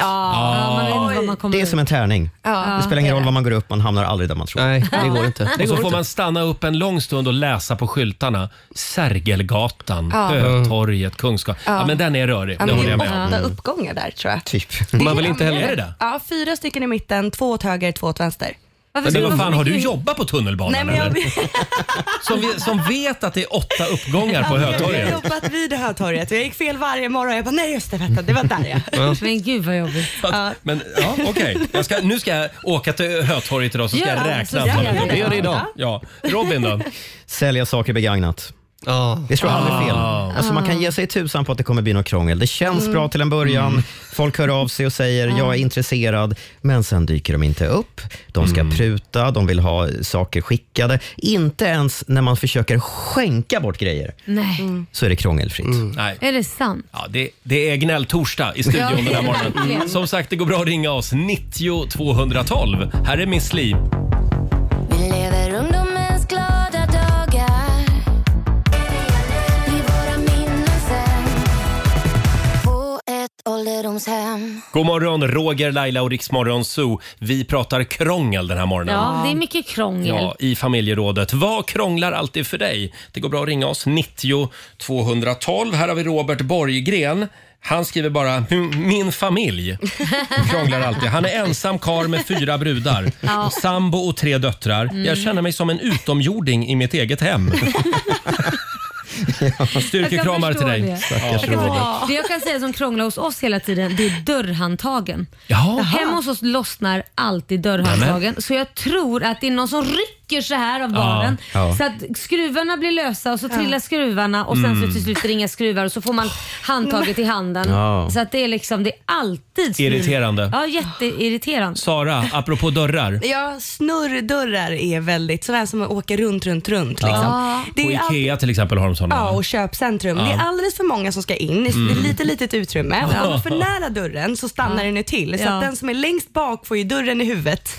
Det är som en tärning. Ja. Det spelar ingen roll var man går upp, man hamnar aldrig där man tror. Nej, det går inte. Och så får man stanna upp en lång stund och läsa på skyltarna. Sergelgatan, Ja. Ötorget, Kungsgatan. Ja. Ja. men den är rörig. Ja, men det det håller är jag åtta Mm. med om. Mm. uppgångar där tror jag. Typ. Man vill inte heller... Är det det? Ja, fyra stycken i mitten, två åt höger, två åt vänster. Men vad fan, har du jobbat på tunnelbanan Nej, men jag- eller? Som, vi- som vet att det är åtta uppgångar på Jag har Hötorget. jobbat vid det här torget. Jag gick fel varje morgon. Jag bara, nej just det, vänta, det var där jag. Ja. Men gud vad jobbigt. Ja. Men ja, okej. Jag ska- Nu ska jag åka till Hötorget idag så ska Ja, jag så räkna gör antalet jag det. uppgångar. Gör det idag. Ja. Robin då? Sälja saker begagnat. Det slår aldrig fel. Alltså man kan ge sig tusan på att det kommer bli något krångel. Det känns Mm. bra till en början. Folk hör av sig och säger jag är intresserad, men sen dyker de inte upp. De ska pruta, de vill ha saker skickade. Inte ens när man försöker skänka bort grejer Nej. så är det krångelfritt. Nej. Är det sant? Ja, det, det är gnälltorsdag i Ja, studion den det är här det morgonen. Mm. verkligen. Som sagt, det går bra att ringa oss. 90 212. Här är Miss Li. Vi lever ungdomens glada dagar I våra minnen sen På ett ålderdomshem God morgon, Roger, Laila och Riksmorgon Zoo. Vi pratar krångel den här morgonen. Ja, det är mycket krångel. Ja, i familjerådet. Vad krånglar alltid för dig? Det går bra att ringa oss. 90 212. Här har vi Robert Borggren. Han skriver bara "Min- “Min familj krånglar alltid”. Han är ensam kar med fyra brudar, Ja. sambo och tre döttrar. Mm. Jag känner mig som en utomjording i mitt eget hem. Styrkekramar Jag till kan dig. förstå det. Stackars Robert. Det jag kan säga som krånglar hos oss hela tiden, det är dörrhandtagen. Jaha. Hemma hos oss lossnar alltid dörrhandtagen. Så jag tror att det är någon som rycker så här av Ja, barnen. ja. Så att skruvarna blir lösa och så trillar skruvarna och sen Mm. Oh. så till slut är det inga skruvar och så får man handtaget i handen. Ja. Så att det är liksom, det är alltid skruv. Irriterande. Ja, jätteirriterande. Sara, apropå dörrar. Ja, snurrdörrar är väldigt, sådana här som åker runt, runt, runt. Liksom. Ja. Det På är alltid- Ikea till exempel har de sådana. Ja, och köpcentrum. Ja. Det är alldeles för många som ska in. Det är Mm. lite litet utrymme. Och Ja. Om man för nära dörren så stannar den ju till. Så Ja. att den som är längst bak får ju dörren i huvudet.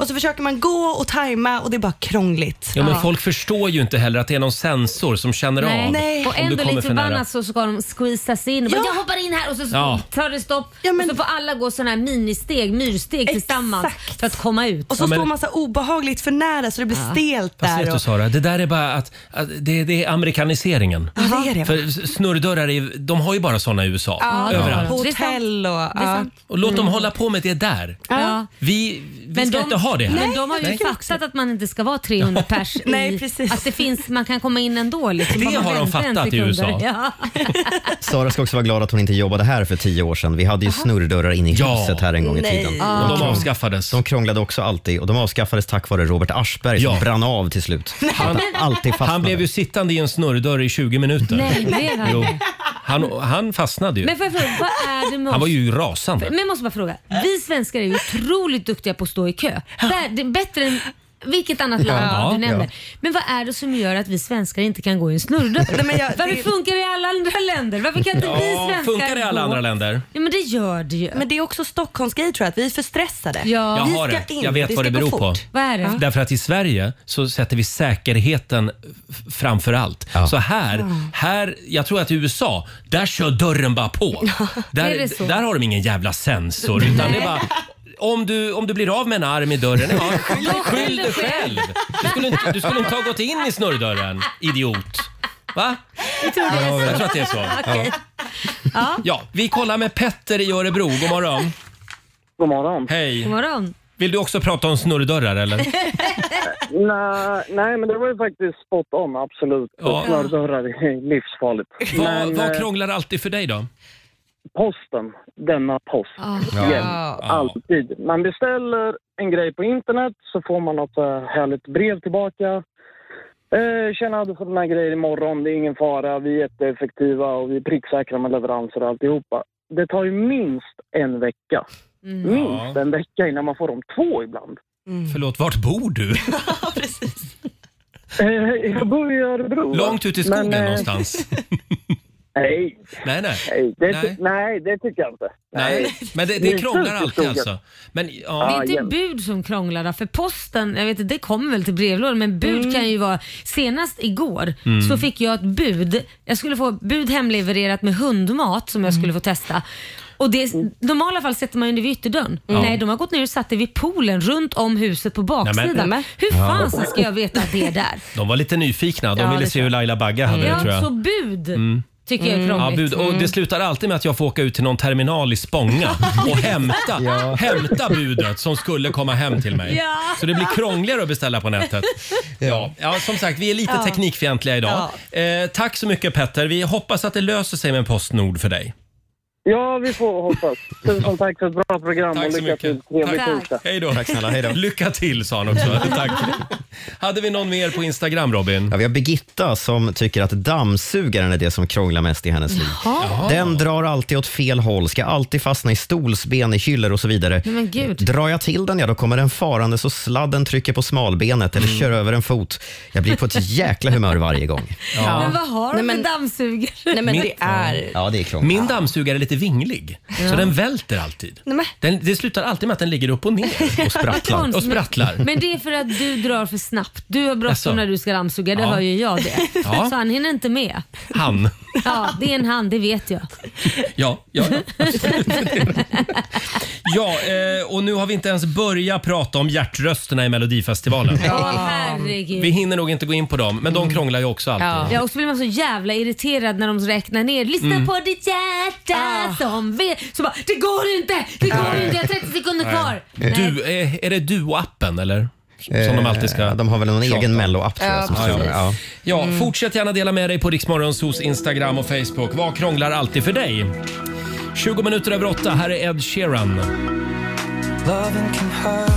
Och så försöker man gå och tajma och det är bara krångligt. Ja, men Folk förstår ju inte heller att det är någon sensor som känner av Och om du ändå kommer lite för nära. förbannat så ska de squeeza sig in. Och Bara, jag hoppar in här och så Ja. tar det stopp. Och så får alla gå sådana här ministeg, myrsteg tillsammans för att komma ut. Och så Ja, men- står man så här obehagligt för nära så det blir Ja. stelt Fast där. vet du och... Sara, det där är bara att, att det, det är amerikaniseringen. Ja, det är det. För s- snurrdörrar, är, de har ju bara såna i USA. Ja, på överallt. hotell och... Ja. Och låt dem hålla på med det där. Mm. Ja. Vi, vi ska inte ha det här. Men de har ju Nej. fattat att man inte ska vara 300 pers i, Nej, precis. Att det finns, man kan komma in ändå. Liksom, Det bara man har de väntar en fattat i sekund. USA. Ja. Sara ska också vara glad att hon inte jobbade här för tio år sedan. Vi hade ju snurrdörrar inne i Ja. huset här en gång i Nej. tiden. Ah. Och de avskaffades. De krånglade också alltid och de avskaffades tack vare Robert Aschberg som brann av till slut. Han, alltid fastnade. Han blev ju sittande i en snurrdörr i 20 minuter. Nej, det är han. Jo. han, han fastnade ju. Men får jag fråga, vad är det med Han var oss- ju rasande. Men jag måste bara fråga. Vi svenskar är ju otroligt duktiga på att stå i kö. Bär- Det är bättre än vilket annat land Ja, du nämner. ja. Men vad är det som gör att vi svenskar inte kan gå i en snurrdörr? Nej, men jag- Varför det- funkar det i alla andra länder? Varför kan inte vi svenskar funkar det i alla gå? andra länder? Ja, men det gör det ju. Men det är också Stockholms grej tror jag, att vi är för stressade. Ja. Jag Vi har ska det. in, Jag vet vad ska det beror gå på. fort. Vad är det? Därför att i Sverige så sätter vi säkerheten f- framför allt. Så här, här, jag tror att i USA, där kör dörren bara på. Är det så? Där, där har de ingen jävla sensor. Utan det är bara, om, du, om du blir av med en arm i dörren, ja, skyll, skyll dig själv. Du skulle, inte, du skulle inte ha gått in i snurrdörren, idiot. Va? Jag tror det är så. Jag tror att det är så. Okej. Ja. Ja, vi kollar med Petter i Örebro. God morgon. God morgon. Hej. God morgon. Vill du också prata om snurrdörrar eller? nej, nej, men det var ju faktiskt spot on, absolut. Ja. Ja. Snördörrar är livsfarligt. Vad, Men, vad eh, krånglar alltid för dig då? posten, denna post. Ja. Jämt, alltid. Man beställer en grej på internet så får man något eh, härligt brev tillbaka. Eh, tjena, du får den här grejen imorgon. Det är ingen fara. Vi är jätteeffektiva och vi är pricksäkra med leveranser och alltihopa. Det tar ju minst en vecka. Mm. Minst en vecka innan man får dem två ibland. Mm. Förlåt, vart bor du? Eh, Jag bor i Örebro. Långt ut i skogen Men, eh, någonstans? Nej. Nej, nej. Nej det, Nej. nej. nej, det tycker jag inte. Nej, men det, Det det är krånglar fullt i alltid skogen. Ah, alltså. Men, ja. Det är inte bud som krånglar då, för posten, jag vet inte, det kommer väl till brevlådan men bud Mm. kan ju vara, senast igår Mm. så fick jag ett bud, jag skulle få bud hemlevererat med hundmat som Mm. jag skulle få testa. Och det, Oh. normala fall sätter man ju det vid ytterdörren. Ja. Nej, de har gått ner och satt det vid poolen runt om huset på baksidan. Nej, men- Hur Ja. fan så ska jag veta att det är där? De var lite nyfikna. De Ja, ville det se hur Laila Bagge hade ja, det tror jag. så bud Mm. tycker jag är Ja, krångligt. Mm. bud. Och det slutar alltid med att jag får åka ut till någon terminal i Spånga och hämta, hämta budet som skulle komma hem till mig. Ja. Så det blir krångligare att beställa på nätet. Ja, ja som sagt, vi är lite Ja. teknikfientliga idag. Eh, tack så mycket Petter. Vi hoppas att det löser sig med Postnord för dig. Ja, vi får hoppas. Tusen tack för ett bra program Tack och så lycka till. mycket. Trevlig Tack. torsdag. Hej då. Tack snälla, hej då. Lycka till sa han också. Tack. Hade vi någon mer på Instagram Robin? Ja, vi har Birgitta som tycker att dammsugaren är det som krånglar mest i hennes liv. Jaha. Den drar alltid åt fel håll, ska alltid fastna i stolsben, i hyllor och så vidare. Nej, men gud. Drar jag till den, ja då kommer den farande så sladden trycker på smalbenet eller Mm. kör över en fot. Jag blir på ett jäkla humör varje gång. Men vad har de Nej, för men- dammsugare? Nej, men det är... Ja, det är krångligt. Min dammsugare är lite vinglig, så Ja. den välter alltid. Nej, men... Den, det slutar alltid med att den ligger upp och ner. Och sprattlar. Och sprattlar. Men, men det är för att du drar för snabbt. Du har Jaså? bråttom när du ska dammsuga, det Ja. hör ju jag det. Ja. Så han hinner inte med. Han. Ja, det är en han, det vet jag. Ja, ja, ja. absolut. ja eh, och nu har vi inte ens börjat prata om hjärtrösterna i Melodifestivalen. Ja, herregud. Mm. Vi hinner nog inte gå in på dem, men de krånglar ju också alltid. Ja, och så blir man så jävla irriterad när de räknar ner. Lyssna Mm. Ah. på ditt hjärta som vet. Så bara, det går inte! Det går inte, jag har 30 sekunder kvar. Nej. Du, eh, är, är det Duo-appen eller? Som de alltid ska... Eh, De har väl någon tjata egen om. Mello-app tror jag. Ja, som precis. står där. ja. Ja, fortsätt gärna dela med dig på Riksmorgonsos Instagram och Facebook. Vad krånglar alltid för dig? 20 minuter över åtta, här är Ed Sheeran. Loving can hurt.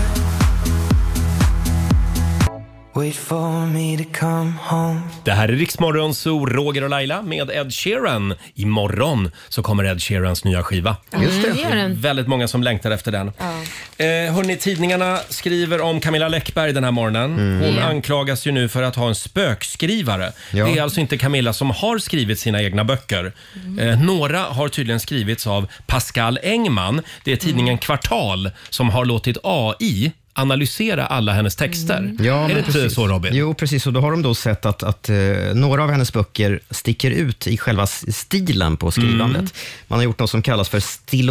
Wait for me to come home. Det här är Riksmorgonso, Roger och Laila med Ed Sheeran. Imorgon så kommer Ed Sheerans nya skiva. Just det. Mm, det gör den. Väldigt många som längtar efter den. Eh, hörni, tidningarna skriver om Camilla Läckberg den här morgonen. Mm. Hon Ja. anklagas ju nu för att ha en spökskrivare. Ja. Det är alltså inte Camilla som har skrivit sina egna böcker. Mm. Eh, några har tydligen skrivits av Pascal Engman. Det är tidningen Mm. Kvartal som har låtit AI analysera alla hennes texter. Mm. Ja, Mm. är men det inte precis. så Robin? Jo, precis. Och då har de då sett att, att eh, några av hennes böcker sticker ut i själva s- stilen på skrivandet. Mm. Man har gjort något som kallas för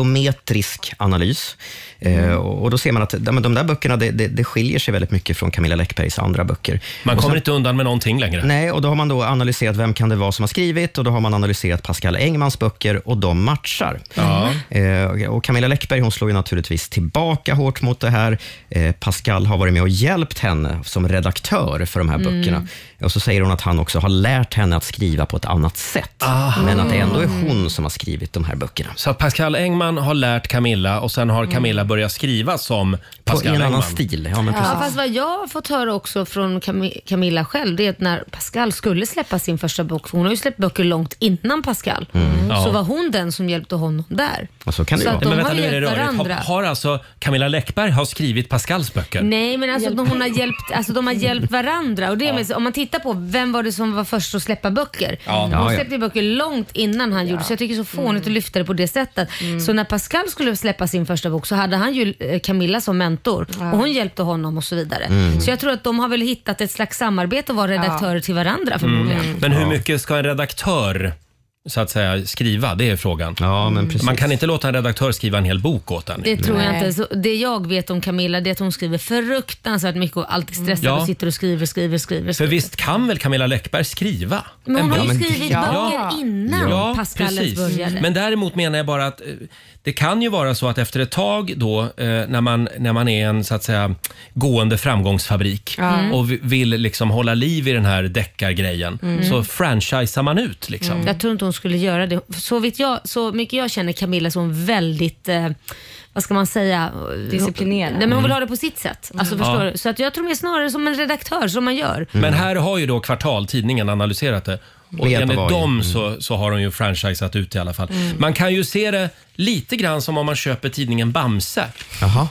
stilometrisk analys. Mm. Eh, och och då ser man att ja, men de där böckerna, det, det, det skiljer sig väldigt mycket från Camilla Läckbergs andra böcker. Man Och kommer sen- inte undan med någonting längre. Nej, och då har man då analyserat vem kan det vara som har skrivit och då har man analyserat Pascal Engmans böcker och de matchar. Ja. Eh, och Camilla Läckberg hon slår ju naturligtvis tillbaka hårt mot det här. Eh, eh, Pascal har varit med och hjälpt henne som redaktör för de här Mm. böckerna. Och så säger hon att han också har lärt henne att skriva på ett annat sätt. Men att det ändå är hon som har skrivit de här böckerna. Så att Pascal Engman har lärt Camilla och sen Mm. har Camilla börjat skriva som Pascal en annan Engman. stil. Ja, fast vad jag har fått höra också från Cam- Camilla själv, det är att när Pascal skulle släppa sin första bok, för hon har ju släppt böcker långt innan Pascal, Mm. så Ja. var hon den som hjälpte honom där. Och så kan det Så ju att vara. de Men vänta, har nu är det hjälpt rörigt. Har, varandra. har alltså Camilla Läckberg har skrivit Pascals böcker? Nej, men alltså, de, hon har hjälpt, alltså de har hjälpt varandra. Och det är med, om man tittar på vem var det som var först att släppa böcker? Ja. Ja, Hon ja. släppte ju böcker långt innan han gjorde så jag tycker det är så fånigt att lyfta det på det sättet. Så när Pascal skulle släppa sin första bok så hade han ju eh, Camilla som mentor och hon hjälpte honom och så vidare. Mm. Så jag tror att de har väl hittat ett slags samarbete och var redaktörer till varandra förmodligen. Mm. Men hur mycket ska en redaktör så att säga skriva? Det är frågan. Ja, men precis. Man kan inte låta en redaktör skriva en hel bok åt en. Det tror jag inte. Så det jag vet om Camilla det är att hon skriver fruktansvärt mycket och alltid stressad Ja. och sitter och skriver, skriver, skriver. För visst kan väl Camilla Läckberg skriva? Men hon en har ju bok? skrivit böcker innan Ja, Pascal ens precis. började. Men däremot menar jag bara att eh, det kan ju vara så att efter ett tag då eh, när man, när man är en så att säga gående framgångsfabrik Ja. och vi- vill liksom hålla liv i den här deckargrejen Mm. så franchisar man ut liksom. Jag tror inte hon skulle göra det. Så, vitt jag, så mycket jag känner Camilla så är hon väldigt, eh, vad ska man säga? Disciplinerad. Nej, men hon vill ha det på sitt sätt. Alltså, Mm. förstår Ja. Mm. du? Så att jag tror mer snarare som en redaktör som man gör. Mm. Men här har ju då kvartaltidningen analyserat det. Och Med hjälp av enligt AI. dem så, så har de ju franchisat ut i alla fall. Mm. Man kan ju se det lite grann som om man köper tidningen Bamse. Jaha.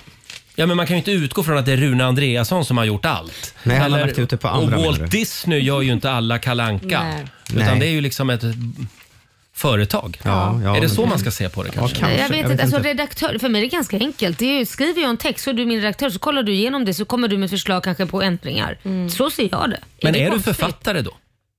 Ja, men man kan ju inte utgå från att det är Rune Andreasson som har gjort allt. Nej, han har lagt ut det på andra, Och menar Walt du? Disney gör ju inte alla Kalle Anka. Nej. Utan Nej. det är ju liksom ett företag. Ja, ja, är det men- så man ska se på det kanske? Nej, jag vet, inte. Alltså, redaktör, för mig är det ganska enkelt. Det är ju, skriver jag en text så är du min redaktör så kollar du igenom det så kommer du med förslag kanske på ändringar. Så ser jag det. Men det är du konstigt? författare då?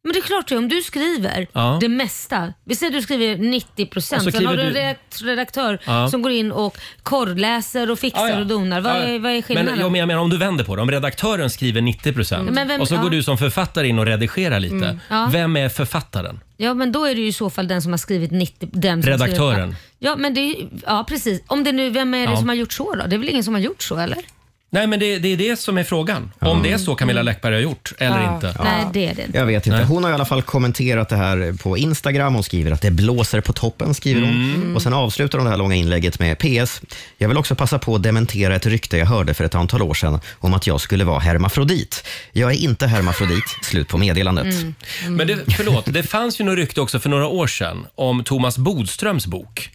Men det är klart det, om du skriver Ja. det mesta. Vi säger att du skriver 90 Och procent. så Sen har du kliver en du- redakt- redaktör Ja. som går in och korrläser och fixar och donar. Vad, Ja, ja. är, vad är men, skillnaden? Mm. jag, men jag menar om du vänder på det. Om redaktören skriver 90 procent Men vem- och så ja. går du som författare in och redigerar lite. Mm. Ja. Vem är författaren? Ja, men då är det ju i så fall den som har skrivit 90... Den som Redaktören. skrivit- Ja, men det är, ja, precis. Om det nu, vem är det Ja. som har gjort så då? Det är väl ingen som har gjort så eller? Nej, men det, det är det som är frågan. Om det är så Camilla Läckberg har gjort eller inte. Mm. Nej, det är det inte. Jag vet inte. Hon har i alla fall kommenterat det här på Instagram. Hon skriver att det blåser på toppen. skriver hon. Mm. Och Sen avslutar hon det här långa inlägget med PS. Jag vill också passa på att dementera ett rykte jag hörde för ett antal år sedan om att jag skulle vara hermafrodit. Jag är inte hermafrodit. Slut på meddelandet. Mm. Mm. Men det, förlåt, det fanns ju något rykte också för några år sedan om Thomas Bodströms bok.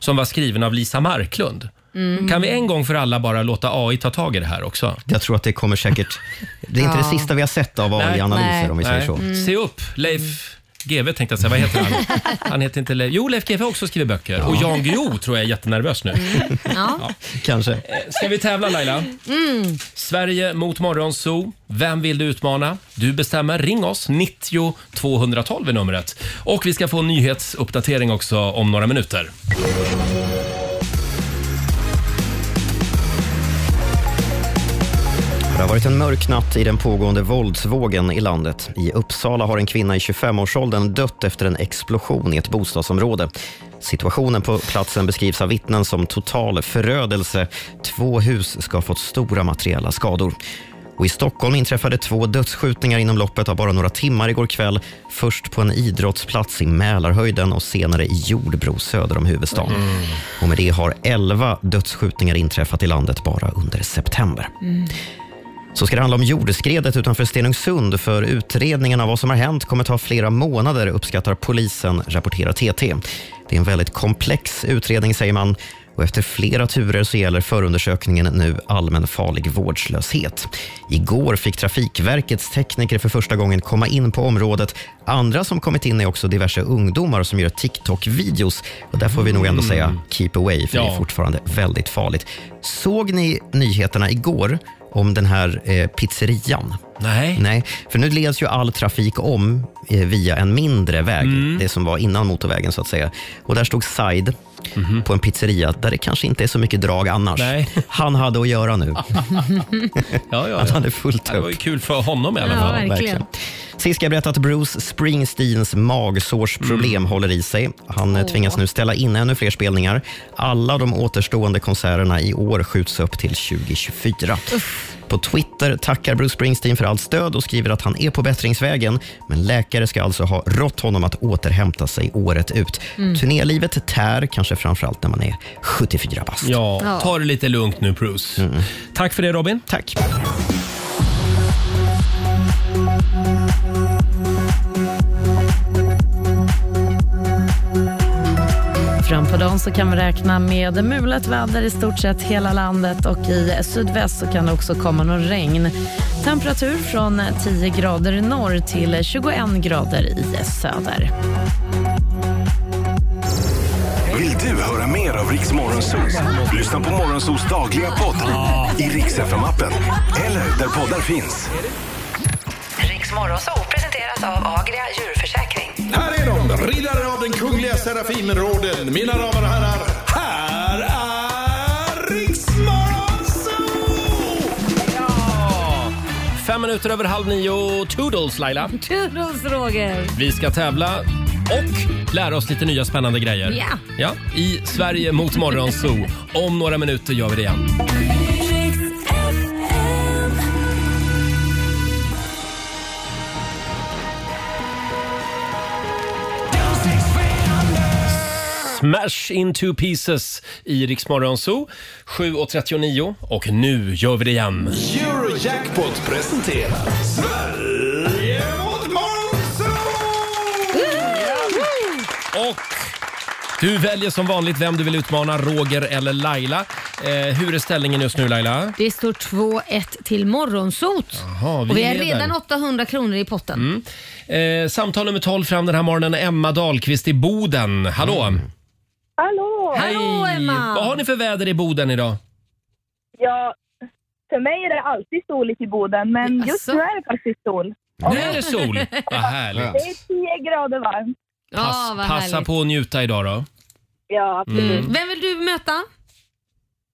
Som var skriven av Lisa Marklund. Mm. Kan vi en gång för alla bara låta AI ta tag i det här också? Jag tror att det kommer säkert... Det är inte Ja. det sista vi har sett av AI-analyser om vi säger Nej. Mm. så. Se upp, Leif GW tänkte jag säga. Vad heter han? Han heter inte Leif. Jo, Leif GW har också skrivit böcker. Och Jan Guillou tror jag är jättenervös nu. Mm. Eh, Ja. Kanske. Ska vi tävla Laila? Mm. Sverige mot Morgonzoo. Vem vill du utmana? Du bestämmer. Ring oss. 90 212 är numret. Och vi ska få en nyhetsuppdatering också om några minuter. Det har varit en mörk natt i den pågående våldsvågen i landet. I Uppsala har en kvinna i 25-årsåldern dött efter en explosion i ett bostadsområde. Situationen på platsen beskrivs av vittnen som total förödelse. Två hus ska ha fått stora materiella skador. Och I Stockholm inträffade två dödsskjutningar inom loppet av bara några timmar igår kväll. Först på en idrottsplats i Mälarhöjden och senare i Jordbro söder om huvudstaden. Och med det har 11 dödsskjutningar inträffat i landet bara under september. Så ska det handla om jordskredet utanför Stenungsund för utredningen av vad som har hänt kommer ta flera månader uppskattar polisen, rapporterar TT. Det är en väldigt komplex utredning säger man och efter flera turer så gäller förundersökningen nu allmän farlig vårdslöshet. Igår fick Trafikverkets tekniker för första gången komma in på området. Andra som kommit in är också diverse ungdomar som gör TikTok-videos. Och där får vi nog ändå säga keep away, för det är Ja. fortfarande väldigt farligt. Såg ni nyheterna igår om den här eh, pizzerian? Nej. Nej, för nu leds ju all trafik om eh, via en mindre väg, Mm. det som var innan motorvägen så att säga. Och där stod Said Mhm. på en pizzeria där det kanske inte är så mycket drag annars. Han hade att göra nu. Ja, ja, ja. Han hade fullt upp. Det var ju kul för honom i alla Ja, fall. verkligen. Sist ska jag berätta att Bruce Springsteens magsårsproblem Mm. håller i sig. Han eh, tvingas nu ställa in ännu fler spelningar. Alla de återstående konserterna i år skjuts upp till 2024. På Twitter tackar Bruce Springsteen för allt stöd och skriver att han är på bättringsvägen. Men läkare ska alltså ha rått honom att återhämta sig året ut. Mm. Turnélivet tär, kanske framförallt när man är 74 bast. Ja, ta det lite lugnt nu Bruce. Tack för det Robin. Mm. Tack. Fram på dagen så kan vi räkna med mulet väder i stort sett hela landet och i sydväst så kan det också komma någon regn. Temperatur från 10 grader i norr till 21 grader i söder. Vill du höra mer av Riks Morgonzoos? Lyssna på Morgonzoos dagliga podd i Riks FM-appen eller där poddar finns. Riks Morgonzoo presenteras av Agria djurförsäkring. Här är de, riddare av den kungliga Serafimerorden. Mina damer och herrar, här är Riksmorgonzoo! Fem minuter över halv nio. Toodles Laila. Toodles Roger. Vi ska tävla och lära oss lite nya spännande grejer. Ja. ja I Sverige mot Morgonzoo. Om några minuter gör vi det igen. Smash into pieces i Rix Morgonzoo. 7.39 och nu gör vi det igen. Eurojackpot presenterar Sverige mot Morgonzoo! Och Du väljer som vanligt vem du vill utmana, Roger eller Laila. Eh, hur är ställningen just nu Laila? Det står 2-1 till Morgonsot. Jaha, och vi är där. redan 800 kronor i potten. Mm. Eh, samtal nummer 12 fram den här morgonen, Emma Dahlqvist i Boden. Hallå! Hallå! Mm. Hallå Emma! Vad har ni för väder i Boden idag? Ja, för mig är det alltid soligt i Boden, men just nu är det faktiskt sol. Nu är det sol! Vad Det härligt! är 10 grader varmt. Pass, passa på att njuta idag då. Ja, absolut. Mm. Vem vill du möta?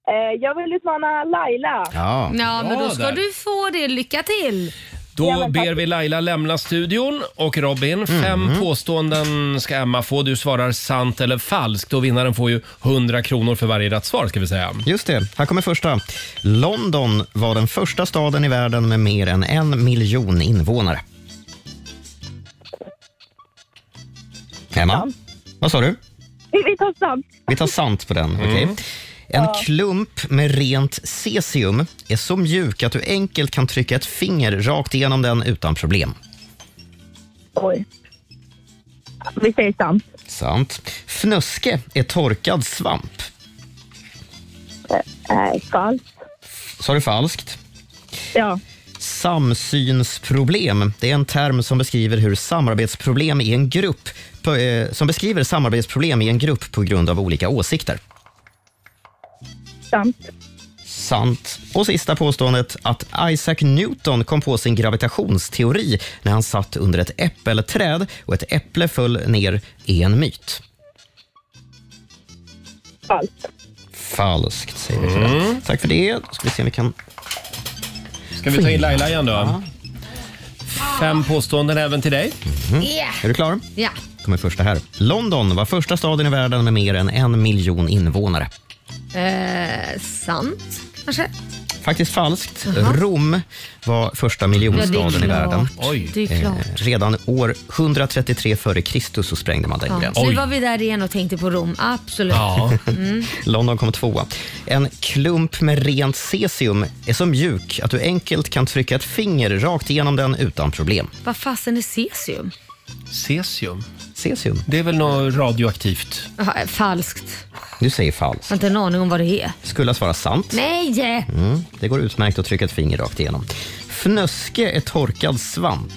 Eh, jag vill utmana Laila. Ja. ja men Ja, då ska där. du få det. Lycka till! Då ber vi Laila lämna studion och Robin, fem påståenden ska Emma få. Du svarar sant eller falskt och vinnaren får ju 100 kronor för varje rätt svar ska vi säga. Just det, här kommer första. London var den första staden i världen med mer än en miljon invånare. Emma, vad sa du? Vi, vi tar sant. Vi tar sant på den. okej. En klump med rent cesium är så mjuk att du enkelt kan trycka ett finger rakt igenom den utan problem. Oj. Vi säger sant. Sant. Fnuske är torkad svamp. Nej, falskt. Sa du falskt? Ja. Samsynsproblem det är en term som beskriver hur samarbetsproblem i en grupp på, eh, som beskriver samarbetsproblem i en grupp på grund av olika åsikter. Sant. Sant. Och sista påståendet att Isaac Newton kom på sin gravitationsteori när han satt under ett äppelträd och ett äpple föll ner är en myt. Falskt. Falskt säger vi för det. Tack för det. Då ska vi se om vi kan... Ska vi ta in Laila igen då? Fem påståenden även till dig. Yeah. Mhm. Är du klar? Ja. kommer första här. London var första staden i världen med mer än en miljon invånare. Eh, sant, kanske? Faktiskt falskt. Jaha. Rom var första miljonstaden Ja, det är i världen. Eh, klart. Oj. Det är klart. redan år 133 före Kristus så sprängde man den Ja. gränsen. Nu var vi där igen och tänkte på Rom. Absolut. Mm. London kom tvåa. En klump med rent cesium är så mjuk att du enkelt kan trycka ett finger rakt igenom den utan problem. Vad fasen är cesium? Cesium? Cesium. Det är väl något radioaktivt? Jaha, eh, Falskt. Du säger falskt. Jag har inte en aning om vad det är. Skulle svara sant. Nej! Mm, det går utmärkt att trycka ett finger rakt igenom. Fnöske är torkad svamp.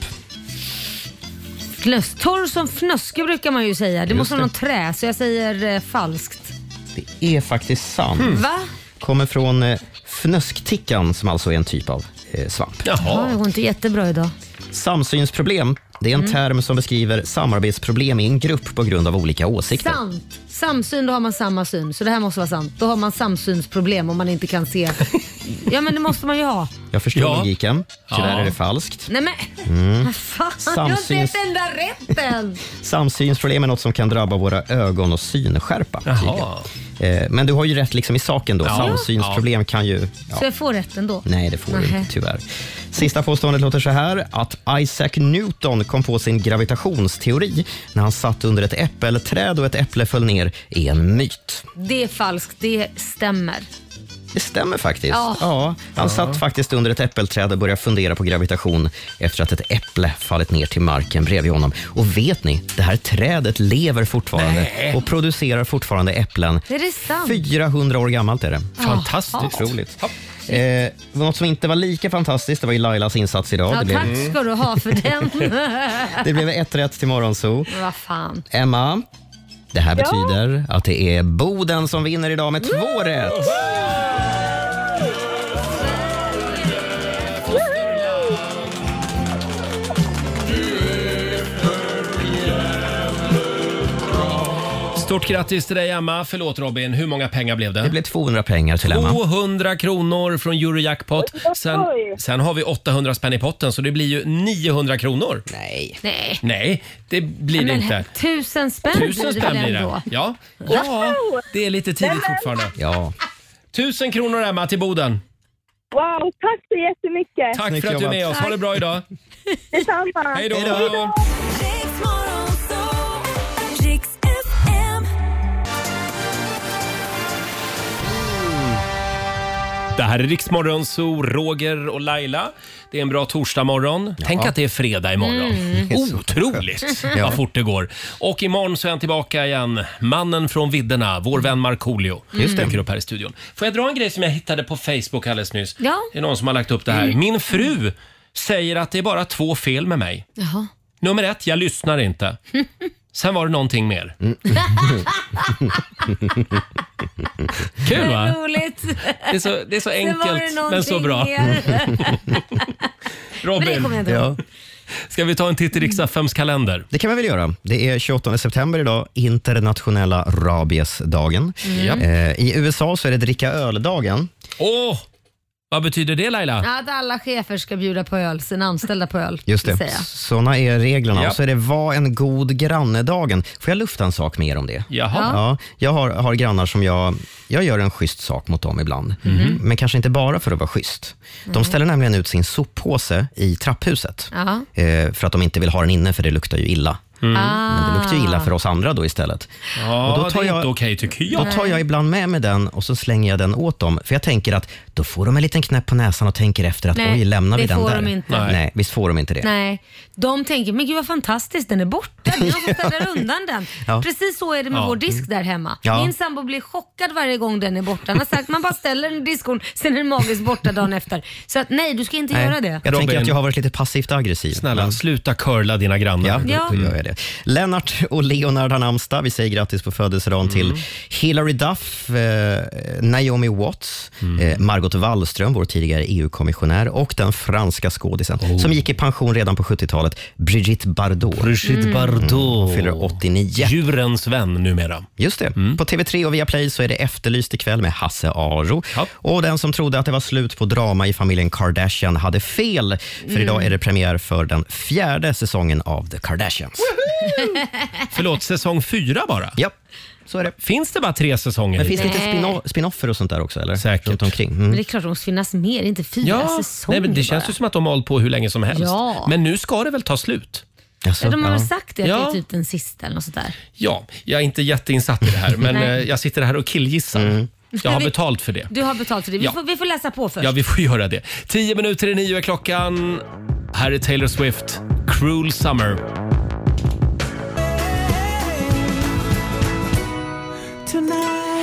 Fnös. Torr som fnöske brukar man ju säga. Det Just måste vara det. någon trä, så jag säger eh, falskt. Det är faktiskt sant. Mm. Va? Kommer från eh, fnösktickan som alltså är en typ av eh, svamp. Ja, det går inte jättebra idag. Samsynsproblem Det är en Mm. term som beskriver samarbetsproblem i en grupp på grund av olika åsikter. Sant. Samsyn, då har man samma syn. Så det här måste vara sant. Då har man samsynsproblem om man inte kan se. Ja, men det måste man ju ha. Jag förstår logiken. Tyvärr Ja. är det falskt. Nej men, Mm. vad fan. Jag har Samsyns- inte ett enda rätt än. Samsynsproblem är något som kan drabba våra ögon och synskärpa. Jaha. tydligen. Eh, Men du har ju rätt liksom i saken då. Ja. Samsynsproblem kan ju... Så Ja. jag får rätt ändå? Nej, det får du Nähä. inte tyvärr. Sista påståendet låter så här att Isaac Newton kom på sin gravitationsteori när han satt under ett äppelträd och ett äpple föll ner är en myt. Det är falskt, det stämmer. Det stämmer faktiskt. Ja. Ja, han Ja. satt faktiskt under ett äppelträd och började fundera på gravitation efter att ett äpple fallit ner till marken bredvid honom. Och vet ni, det här trädet lever fortfarande Nej. och producerar fortfarande äpplen. Är det sant? 400 år gammalt är det. Ja. Fantastiskt. Otroligt. Eh, något som inte var lika fantastiskt det var ju Lailas insats idag. Ja, det, tack blev, ska du ha för den. det blev ett rätt till Morgonzoo. Vad fan. Emma, det här Ja. betyder att det är Boden som vinner idag med två rätt. Stort grattis till dig Emma. Förlåt Robin, hur många pengar blev det? Det blev 200 pengar till Emma. 200 kronor från Eurojackpot. Sen, sen har vi 800 spänn i potten så det blir ju 900 kronor. Nej. Nej. Nej, det blir det Men inte. Tusen spänn Tusen blir det spänn väl blir ändå? det. Ja. ja, det är lite tidigt fortfarande. Ja. Tusen kronor Emma till Boden. Wow, tack så jättemycket. Tack för att du är med oss. Ha det bra idag. Detsamma. Hej då. Det här är Riksmorgon, så Roger och Laila. Det är en bra torsdagmorgon. Tänk att det är fredag imorgon. Mm. Det är så Otroligt skönt. Ja. vad fort det går. Och imorgon så är han tillbaka igen. Mannen från vidderna, vår vän Markoolio, Mm. Just det. dyker upp här i studion. Får jag dra en grej som jag hittade på Facebook alldeles nyss? Ja. Det är någon som har lagt upp det här. Mm. Min fru säger att det är bara två fel med mig. Jaha. Nummer ett, jag lyssnar inte. Sen var det någonting mer. Mm. Kul Vad va? roligt. Det är så, det är så Sen var det enkelt men så någonting bra. mer. Men det Robin, kommer jag inte ihåg. ska vi ta en titt i riks kalender? Det kan vi väl göra. Det är 28 september idag, internationella rabiesdagen. Mm. Japp. Eh, I USA så är det dricka öl-dagen. Åh! Vad betyder det Laila? Att alla chefer ska bjuda på öl, sina anställda på öl. Just det. säger jag. Såna är reglerna. Japp. Och så är det var en god granne-dagen. Får jag lufta en sak mer om det? Jaha. Ja. Ja, jag har, har grannar som jag... Jag gör en schysst sak mot dem ibland. Mhm. Men kanske inte bara för att vara schysst. Nej. De ställer nämligen ut sin soppåse i trapphuset. Ja. Ah. Eh, för att de inte vill ha den inne, för det luktar ju illa. Mm. Men det luktar ju illa för oss andra då istället. Ja, Och då tar det är jag- inte okej typ. tycker jag. Då tar jag ibland med mig den och så slänger jag den åt dem. För jag tänker att då får de en liten knäpp på näsan och tänker efter att Nej, oj, lämnar vi det den får där? de inte. Nej. Nej. visst får de inte det. Nej, de tänker men gud vad fantastiskt, den är borta. Det är någon som ställer undan den. Ja. Precis så är det med Ja. vår disk där hemma. Ja. Min sambo blir chockad varje gång den är borta. Han har sagt man bara ställer den i diskon, sen är den magiskt borta dagen efter. Så att, nej, du ska inte Nej, göra det. Jag tänker att jag har varit lite passivt aggressiv. Snälla, sluta curla dina grannar. Ja, Ja. Då gör jag det. Lennart och Leonard har namnsdag. Vi säger grattis på födelsedagen till Mm. Hillary Duff, eh, Naomi Watts, Mm. eh, Margot Wallström, vår tidigare EU-kommissionär och den franska skådisen Oh. som gick i pension redan på 70-talet, Brigitte Bardot. Brigitte Mm. Bardot. Hon fyller 89. Djurens vän numera. Mm. Just det. På TV3 och Viaplay så är det Efterlyst ikväll med Hasse Aro. Och den som trodde att det var slut på drama i familjen Kardashian hade fel. För Mm. idag är det premiär för den fjärde säsongen av The Kardashians. Förlåt, säsong fyra bara? Ja, så är det. Finns det bara tre säsonger? Men finns det inte Nej. spino- spinoffer och sånt där också? Eller? Säkert. Runt omkring. Men Mm. det är klart de måste finnas mer, inte fyra Ja, säsonger nej, men det känns bara. ju som att de har hållit på hur länge som helst. Ja. Men nu ska det väl ta slut? ja, de har väl sagt det, att det Ja. är typ den sista eller något sånt där. Ja, jag är inte jätteinsatt i det här, men Nej. eh, jag sitter här och killgissar. Mm. Jag har Vi- betalt för det. Du har betalt för det. Vi, Ja. får, vi får läsa på först. Ja, vi får göra det. Tio minuter i nio är klockan. Här är Taylor Swift, Cruel Summer.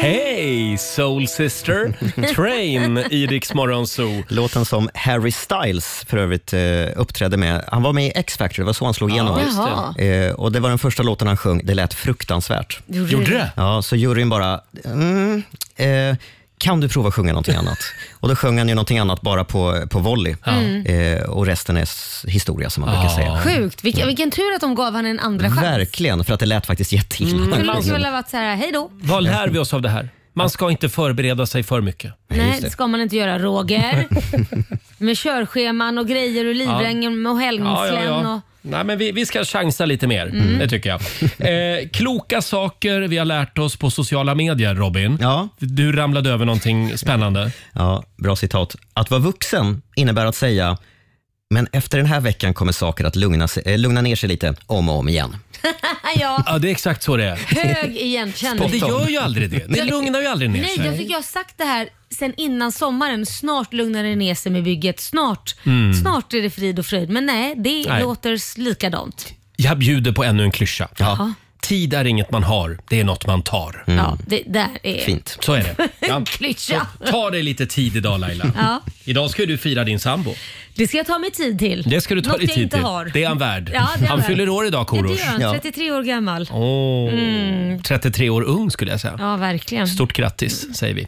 Hej, Soul Sister! Train i Rix Morgon Zoo. Låten som Harry Styles för övrigt eh, uppträdde med. Han var med i X-Factor, det var så han slog igenom. just det. Eh, och det var den första låten han sjöng. Det lät fruktansvärt. Gjorde det? Gjorde det? Ja, så juryn bara... Mm, eh, kan du prova att sjunga någonting annat? Och då sjöng han ju någonting annat bara på, på volley. Ja. Mm. Eh, och resten är s- historia som man brukar säga. Mm. Sjukt, vilken, vilken tur att de gav han en andra chans. Verkligen, för att det lät faktiskt jätteilla. Det måste Mm. väl ha varit så här, hej då. Vad lär vi oss av det här? Man ska inte förbereda sig för mycket. Nej, det ska man inte göra Roger. Med körscheman och grejer och livrängen och Ja, ja, hängslen ja. och... Nej, men vi, vi ska chansa lite mer, Mm. det tycker jag. Eh, kloka saker vi har lärt oss på sociala medier, Robin. Ja. Du ramlade över någonting spännande. Ja, bra citat. Att vara vuxen innebär att säga, men efter den här veckan kommer saker att lugna, sig, eh, lugna ner sig lite om och om igen. ja. Ja, det är exakt så det är. Hög igenkänning. Men det gör ju aldrig det. Det Jag- lugnar ju aldrig ner Nej, sig. jag tycker jag har sagt det här sen innan sommaren. Snart lugnar det ner sig med bygget. Snart, Mm. snart är det frid och fröjd. Men nej, det Nej. låter s- likadant. Jag bjuder på ännu en klyscha. Ja. Tid är inget man har, det är något man tar. Ja, det där är... Så är det. Ja. Klyscha. Så Ta dig lite tid idag Laila. Ja. Idag ska ju du fira din sambo. Det ska jag ta mig tid till. Det ska du ta Något dig jag tid inte till. Har. Det är han värd. Ja, det är han värd. fyller år idag Ja, det Korosh. gör han. 33 år gammal. Åh, Mm. 33 år ung skulle jag säga. Ja, verkligen. Stort grattis säger vi.